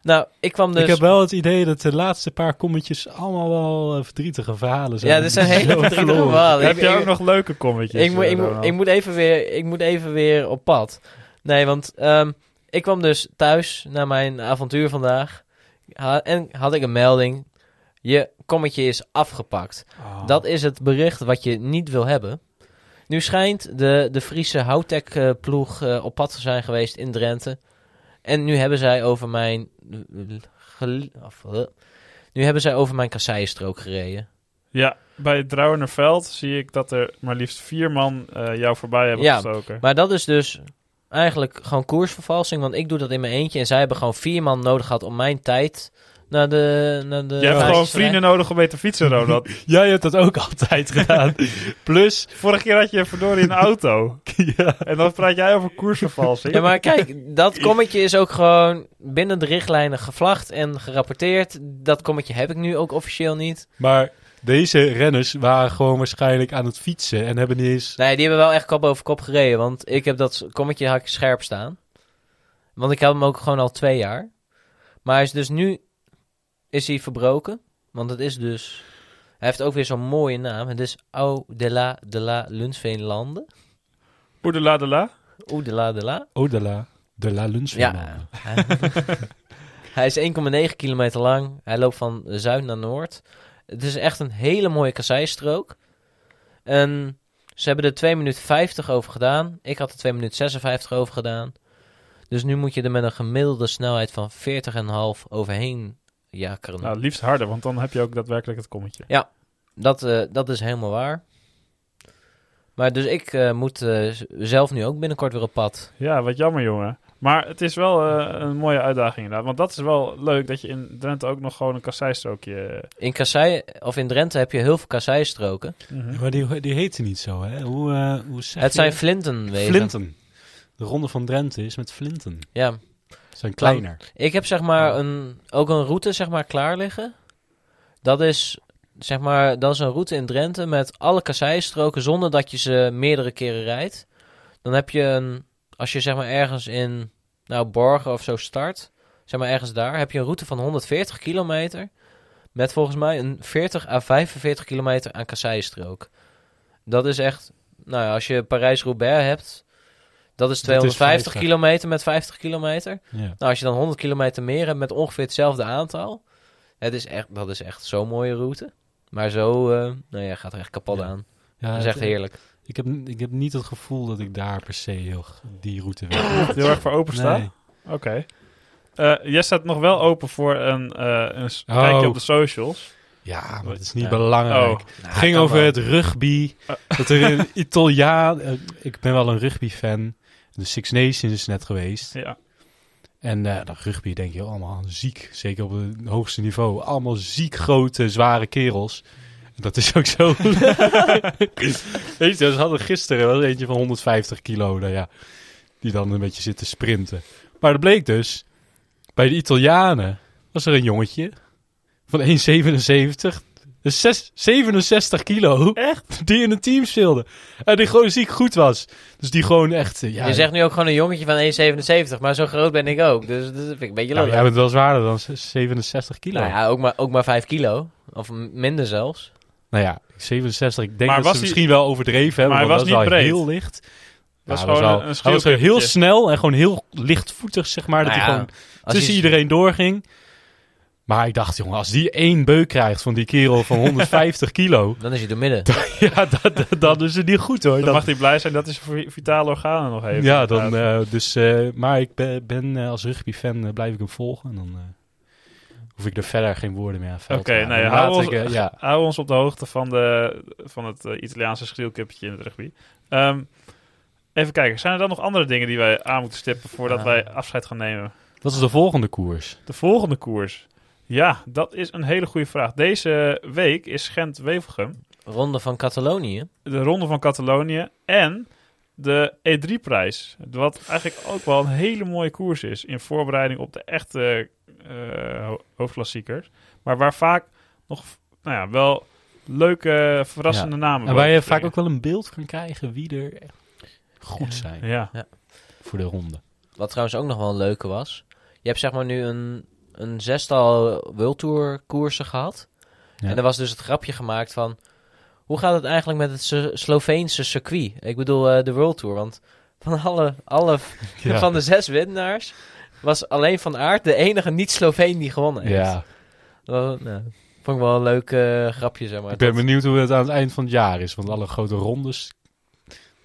Nou, ik kwam dus...
Ik heb wel het idee dat de laatste paar kommetjes allemaal wel eh, verdrietige verhalen zijn.
ja, dit zijn
Die
hele
*laughs* zo
verdrietige
verloren.
verhalen.
Heb
Ik-
je
ik-
ook nog leuke kommetjes?
Ik, moet,
eh,
ik, moet,
Ronald?
ik, moet even weer, ik moet even weer op pad. Nee, want ehm, ik kwam dus thuis na mijn avontuur vandaag. Ha- en had ik een melding. Je kommetje is afgepakt.
Oh.
Dat is het bericht wat je niet wil hebben. Nu schijnt de, de Friese Houtec-ploeg eh, op pad te zijn geweest in Drenthe. En nu hebben zij over mijn... eh, gel- of, eh, nu hebben zij over mijn kasseienstrook gereden.
Ja, bij het Drouwenerveld zie ik dat er maar liefst vier man eh, jou voorbij hebben
Ja,
gestoken.
Maar dat is dus eigenlijk gewoon koersvervalsing, want ik doe dat in mijn eentje. En zij hebben gewoon vier man nodig gehad om mijn tijd naar de... Naar de
Je hebt gewoon
plaats te rijden.
vrienden nodig om mee te fietsen, *laughs* Ronald.
Jij hebt dat ook
*laughs*
altijd gedaan. Plus,
Vorige keer had je verdorie een *laughs* auto.
ja.
En dan praat jij over koersvervalsing.
Ja, maar kijk,
*laughs*
dat kommetje is ook gewoon binnen de richtlijnen gevlacht en gerapporteerd. Dat kommetje heb ik nu ook officieel niet.
maar deze renners waren gewoon waarschijnlijk aan het fietsen en hebben niet eens...
Nee, die hebben wel echt kop over kop gereden, want ik heb dat kommetje hak scherp staan. Want ik heb hem ook gewoon al twee jaar. Maar hij is dus nu... Is hij verbroken? Want het is dus... Hij heeft ook weer zo'n mooie naam. Het is Au de la de la Lunsveenlanden.
Oedela de la.
Oeh de la de la.
Oh, de la, de la lunch van mannen.
Ja. *laughs* hij is 1,9 kilometer lang. Hij loopt van zuid naar noord. Het is echt een hele mooie kasseistrook. En ze hebben er 2 minuten 50 over gedaan. Ik had er 2 minuten 56 over gedaan. Dus nu moet je er met een gemiddelde snelheid van 40,5 overheen jakkeren.
Nou, liefst harder, want dan heb je ook daadwerkelijk het kommetje.
Dat, eh, dat is helemaal waar. Maar dus ik eh, moet eh, z- zelf nu ook binnenkort weer op pad.
Ja, wat jammer, jongen. Maar het is wel eh, een mooie uitdaging inderdaad. Want dat is wel leuk dat je in Drenthe ook nog gewoon een kasseistrookje...
In Kassei, of in Drenthe heb je heel veel kasseistroken.
Mhm.
Maar die, die heette niet zo, hè? Hoe, eh, hoe zeg
Het
je?
zijn flintenwegen.
Flinten. De Ronde van Drenthe is met flinten.
Ja,
Ze zijn kleiner.
ik heb zeg maar een, ook een route zeg maar klaar liggen. Dat is zeg maar, dat is een route in Drenthe met alle kasseistroken zonder dat je ze meerdere keren rijdt. Dan heb je een, als je zeg maar ergens in, nou Borgen of zo start, zeg maar ergens daar, heb je een route van 140 kilometer met volgens mij een 40 à 45 kilometer aan kasseistrook. Dat is echt, nou ja, als je Parijs-Roubaix hebt, dat
Dat
is
is
250
50.
kilometer met 50 kilometer.
Ja.
Nou, als je dan 100 kilometer meer hebt met ongeveer hetzelfde aantal. Het is echt, dat is echt zo'n mooie route. Maar zo, eh, nou ja, gaat er echt kapot
Ja.
aan.
Ja,
Dat is
het-
echt heerlijk.
Ik heb, ik heb niet het gevoel dat ik daar per se heel g- die route wil.
Heel erg voor openstaan.
Nee.
Oké. Eh, jij staat nog wel open voor een, eh, een s-
Oh.
kijkje op de socials.
Ja, maar het is niet
Ja.
belangrijk.
Oh.
het ging
Nou, kan
over
wel. Oh.
het rugby. Dat er
*laughs*
een Italiaan... eh, ik ben wel een rugby-fan. De Six Nations is net geweest.
Ja.
En eh dat rugby denk je allemaal aan ziek. Zeker op het hoogste niveau. Allemaal ziek grote, zware kerels. En Dat is ook zo. *laughs* Weet je, ze hadden gisteren wel eentje van 150 kilo. Nou ja, die dan een beetje zit te sprinten. Maar dat bleek dus, bij de Italianen was er een jongetje van 1,77. Dus zes- 67 kilo. Echt? Die in een team speelde. En die gewoon ziek goed was. Dus die gewoon echt... eh, Ja,
je zegt nu ook gewoon een jongetje van 1,77, maar zo groot ben ik ook. Dus dat vind ik een beetje
nou,
lullig.
jij bent wel zwaarder dan zes- 67 kilo.
Nou ja, ook maar, ook maar 5 kilo. Of m- minder zelfs.
Nou ja, 67. Ik denk
Maar
dat
was
ze
hij-
misschien wel overdreven hebben.
Maar hij
want
was
dat
niet
is wel
breed.
heel licht. Ja,
was
hij
gewoon
wel-
een- een
Hij was gewoon heel
schreeuwkippetje.
snel en gewoon heel lichtvoetig, zeg maar. dat
Nou
hij
ja,
gewoon
Als
tussen
je-
iedereen doorging. Maar ik dacht, jongen, als die één beuk krijgt van die kerel
*laughs*
van 150 kilo...
Dan is hij door
*laughs*
midden.
ja, dat, dat, dat is het niet goed, hoor.
Dan
Dat-
mag hij blij zijn dat hij zijn vi- vitale organen nog heeft.
ja, dan,
Inderdaad.
eh, dus, eh, maar ik ben, ben eh, als rugbyfan eh, blijf ik hem volgen. En dan eh, hoef ik er verder geen woorden meer aan vuil te
Oké,
maken.
nou ja,
Laat
hou ons-
ik, eh, ja.
Hou ons op de hoogte van, de, van het eh, Italiaanse schreeuwkippetje in het rugby. Ehm, even kijken, zijn er dan nog andere dingen die wij aan moeten stippen voordat
Ah.
wij afscheid gaan nemen?
Wat is de volgende koers?
De volgende koers. Ja, dat is een hele goede vraag. Deze week is Gent-Wevelgem,
Ronde van Catalonië.
de Ronde van Catalonië en de E3-prijs. Wat eigenlijk ook wel een hele mooie koers is in voorbereiding op de echte eh, ho- hoofdklassiekers. Maar waar vaak nog nou ja, wel leuke, verrassende namen
En waar je
boven
vaak
springen.
ook wel een beeld kan krijgen wie er echt goed zijn
Ja,
voor de ronde.
Wat trouwens ook nog wel een leuke was. Je hebt zeg maar nu een, een zestal World Tour koersen gehad.
Ja.
En er was dus het grapje gemaakt van... Hoe gaat het eigenlijk met het Slo- Sloveense circuit? Ik bedoel eh, de World Tour. Want van alle, alle
*laughs* Ja.
van de zes winnaars... was alleen Van Aert de enige niet-Sloveen die gewonnen heeft.
Ja,
Dat, nou, vond ik wel een leuk eh, grapje, zeg maar.
ik ben
Dat-
benieuwd hoe het aan het eind van het jaar is. Want alle grote rondes,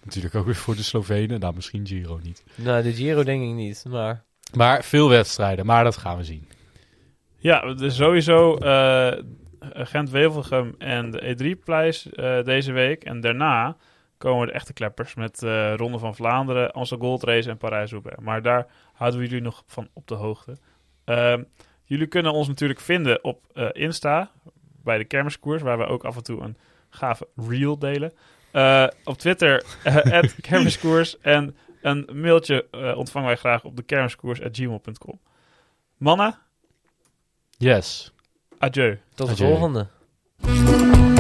natuurlijk ook weer voor de Slovenen. Nou, misschien Giro niet.
Nou, de Giro denk ik niet, maar...
Maar veel wedstrijden, maar dat gaan we zien.
ja dus sowieso eh, Gent-Wevelgem en de E3-prijs eh, deze week. En daarna komen de echte kleppers met eh Ronde van Vlaanderen, Amstel Gold Race en Parijs-Roubaix. Maar daar houden we jullie nog van op de hoogte. Ehm, jullie kunnen ons natuurlijk vinden op eh, Insta, bij de kermiskoers, waar we ook af en toe een gave reel delen. Eh, op Twitter, eh, kermiskoers. En een mailtje eh, ontvangen wij graag op de kermiskoers.gmail.com. Mannen,
Yes.
adieu.
Tot de
Adieu.
volgende.